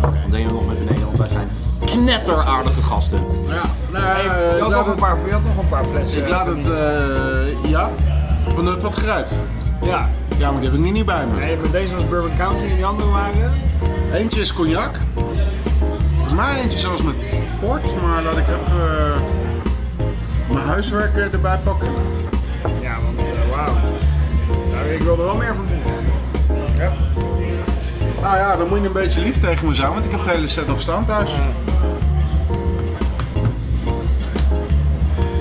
Speaker 1: Dan deden we nog met beneden, want wij zijn knetteraardige gasten.
Speaker 2: Ja. Nou,
Speaker 5: Eh,
Speaker 3: Je
Speaker 2: ik
Speaker 3: had,
Speaker 2: laat
Speaker 3: nog een
Speaker 2: het,
Speaker 3: paar, je had nog een paar flessen.
Speaker 2: ik laat
Speaker 3: eh,
Speaker 2: het eh, ja. Van de wat geruimd.
Speaker 3: Ja.
Speaker 2: Ja, maar die heb ik niet, niet bij me.
Speaker 3: Nee, maar deze was Bourbon County en die andere waren...
Speaker 2: Eentje is cognac. Volgens mij eentje zelfs met port, maar laat ik even eh, mijn huiswerk eh, erbij pakken.
Speaker 3: Ja, want eh, wauw. Nou, ik wil er wel meer van doen.
Speaker 5: Ja.
Speaker 2: Nou ja, dan moet je een beetje lief tegen me zijn, want ik heb de hele set nog staan thuis.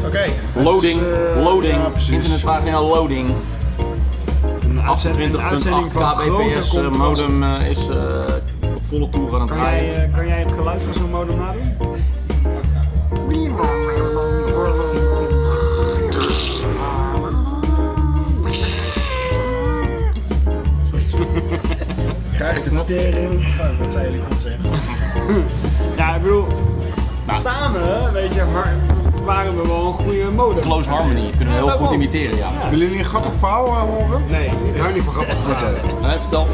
Speaker 5: Oké,
Speaker 1: Loading,
Speaker 2: Dus, eh,
Speaker 1: loading,
Speaker 2: ja, precies.
Speaker 1: internetpagina loading.
Speaker 3: een uitzending, een
Speaker 1: 28.8
Speaker 3: uitzending van grote
Speaker 1: kbps eh,
Speaker 3: contrast.
Speaker 1: modem eh, is eh, op volle toer aan het
Speaker 3: Kan
Speaker 1: draaien.
Speaker 3: jij, eh, kan jij het geluid van zo'n modem nadoen?
Speaker 5: Krijg ik Wat Oh, zei jullie goed Nou. zeggen?
Speaker 3: [LAUGHS] Ja, ik bedoel, samen, weet je, har- waren we wel een goede modem.
Speaker 1: Close Harmony kunnen we heel goed imiteren, ja.
Speaker 2: Willen jullie een grappig verhaal eh, horen?
Speaker 3: Nee, ik hou niet van
Speaker 2: [LAUGHS]
Speaker 3: grappig.
Speaker 1: Eh, vertel.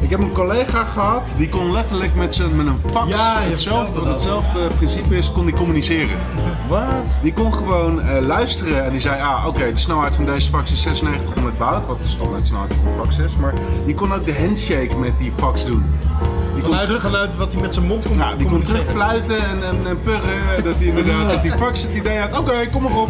Speaker 2: Ik heb een collega gehad, die kon letterlijk met, zijn, met een fax,
Speaker 5: Ja, je
Speaker 2: hetzelfde,
Speaker 5: vertelde
Speaker 2: wat hetzelfde principe is, kon die communiceren. Wat? Die kon gewoon eh, luisteren en die zei, ah oké, de snelheid van deze fax is 9600 baud, wat de standaardsnelheid van een fax is, maar die kon ook de handshake met die fax doen. Die kon,
Speaker 5: Vanuit het
Speaker 2: terug,
Speaker 5: geluid wat hij met zijn mond kon
Speaker 2: ja, die kon
Speaker 5: communiceren.
Speaker 2: terugfluiten en, en, en purren, eh, dat die inderdaad, dat die fax het idee had, oké, kom maar op.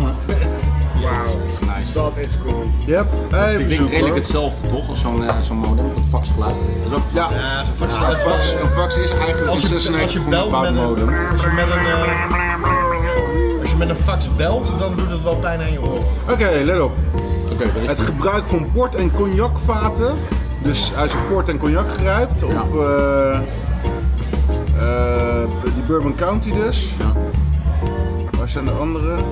Speaker 3: Dat is cool.
Speaker 2: Yep, even
Speaker 1: Ik denk
Speaker 2: zoeken,
Speaker 1: redelijk
Speaker 2: hoor.
Speaker 1: hetzelfde toch, als zo'n eh, zo'n modem, dat faxgeluid. Dat is ook
Speaker 2: Ja,
Speaker 5: Ja, zo'n fax-
Speaker 2: Ja, een fax, een fax is eigenlijk
Speaker 5: Als
Speaker 2: een
Speaker 5: je, als je
Speaker 2: 9600
Speaker 5: belt met
Speaker 2: baud
Speaker 5: een, als
Speaker 2: modem.
Speaker 5: je met een, eh, als je met een fax belt, dan doet het wel pijn aan je oren.
Speaker 2: Oké, let op.
Speaker 1: Oké, dat is
Speaker 2: Het gebruik van port- en cognacvaten. Dus als je port en cognac grijpt op
Speaker 1: Ja.
Speaker 2: eh, eh, die Bourbon County dus.
Speaker 1: Ja.
Speaker 2: Waar zijn de andere? [LAUGHS]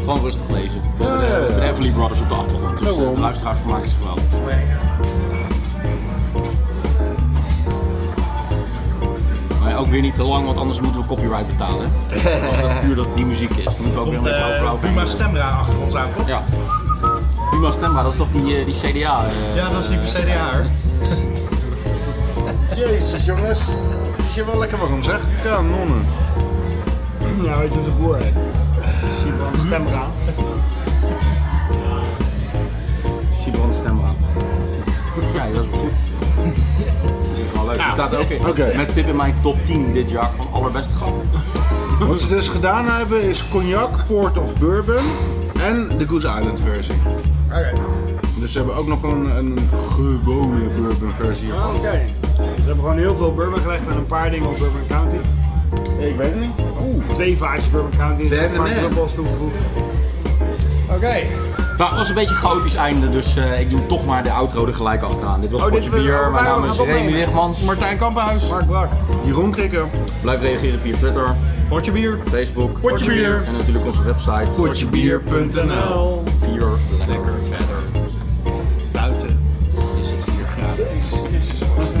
Speaker 1: gewoon rustig lezen. We
Speaker 2: Ja,
Speaker 1: hebben de- we
Speaker 2: ja, ja.
Speaker 1: hebben de Everly Brothers op de achtergrond, dus eh,
Speaker 2: Daarom.
Speaker 1: de luisteraars vermaken zich wel. Maar ook weer niet te lang, want anders moeten we copyright
Speaker 2: [LAUGHS]
Speaker 1: betalen. hè. Als het puur dat die muziek is, dan moeten we ook weer een
Speaker 5: Komt
Speaker 1: beetje overal
Speaker 5: eh Buma Stemra achter ons aan, toch?
Speaker 1: Ja. Buma Stemra, dat is toch die, eh, die CDA? eh,
Speaker 5: Ja, dat is die CDA.
Speaker 2: Jezus jongens. Is je wel lekker waarom zeg? Kanonnen.
Speaker 3: Ja, weet je wat de boer heet? Simon Stemra.
Speaker 1: Simon Stemra. [LAUGHS] Ja, dat is wel [LAUGHS] goed. Dat is wel leuk.
Speaker 5: Nou.
Speaker 1: Die staat er ook in.
Speaker 2: Oké.
Speaker 1: Met stip in mijn top 10 dit jaar van allerbeste grappen.
Speaker 2: Wat ze dus gedaan hebben is cognac, port of bourbon en de Goose Island versie.
Speaker 5: Oké.
Speaker 2: Dus ze hebben ook nog een, een gewone bourbon versie
Speaker 3: Oké.
Speaker 2: hiervan.
Speaker 3: Ze hebben gewoon heel veel Burma gelegd en een paar dingen op Burma County.
Speaker 5: Ik weet het niet.
Speaker 2: Oeh.
Speaker 3: Twee vaatjes Burma County en een
Speaker 2: Damn
Speaker 3: paar
Speaker 2: man.
Speaker 3: druppels toegevoegd.
Speaker 5: Oké.
Speaker 1: Nou, het was een beetje een chaotisch einde, dus eh, ik doe toch maar de outro er gelijk achteraan. Dit was
Speaker 3: Oh, dit
Speaker 1: Potje
Speaker 3: wil-
Speaker 1: Bier, mijn
Speaker 3: waarom
Speaker 1: naam is
Speaker 3: gaat dat
Speaker 1: Remy
Speaker 3: nemen?
Speaker 1: Wichmans.
Speaker 5: Martijn Kamphuis.
Speaker 3: Mark Brak.
Speaker 2: Jeroen Krikker.
Speaker 1: Blijf reageren via Twitter,
Speaker 5: Potje bier.
Speaker 1: Facebook,
Speaker 5: Potje Bier.
Speaker 1: en natuurlijk onze website
Speaker 2: Potjebier.nl
Speaker 1: Vier Lekker Verder.
Speaker 5: Buiten is het 4 graden.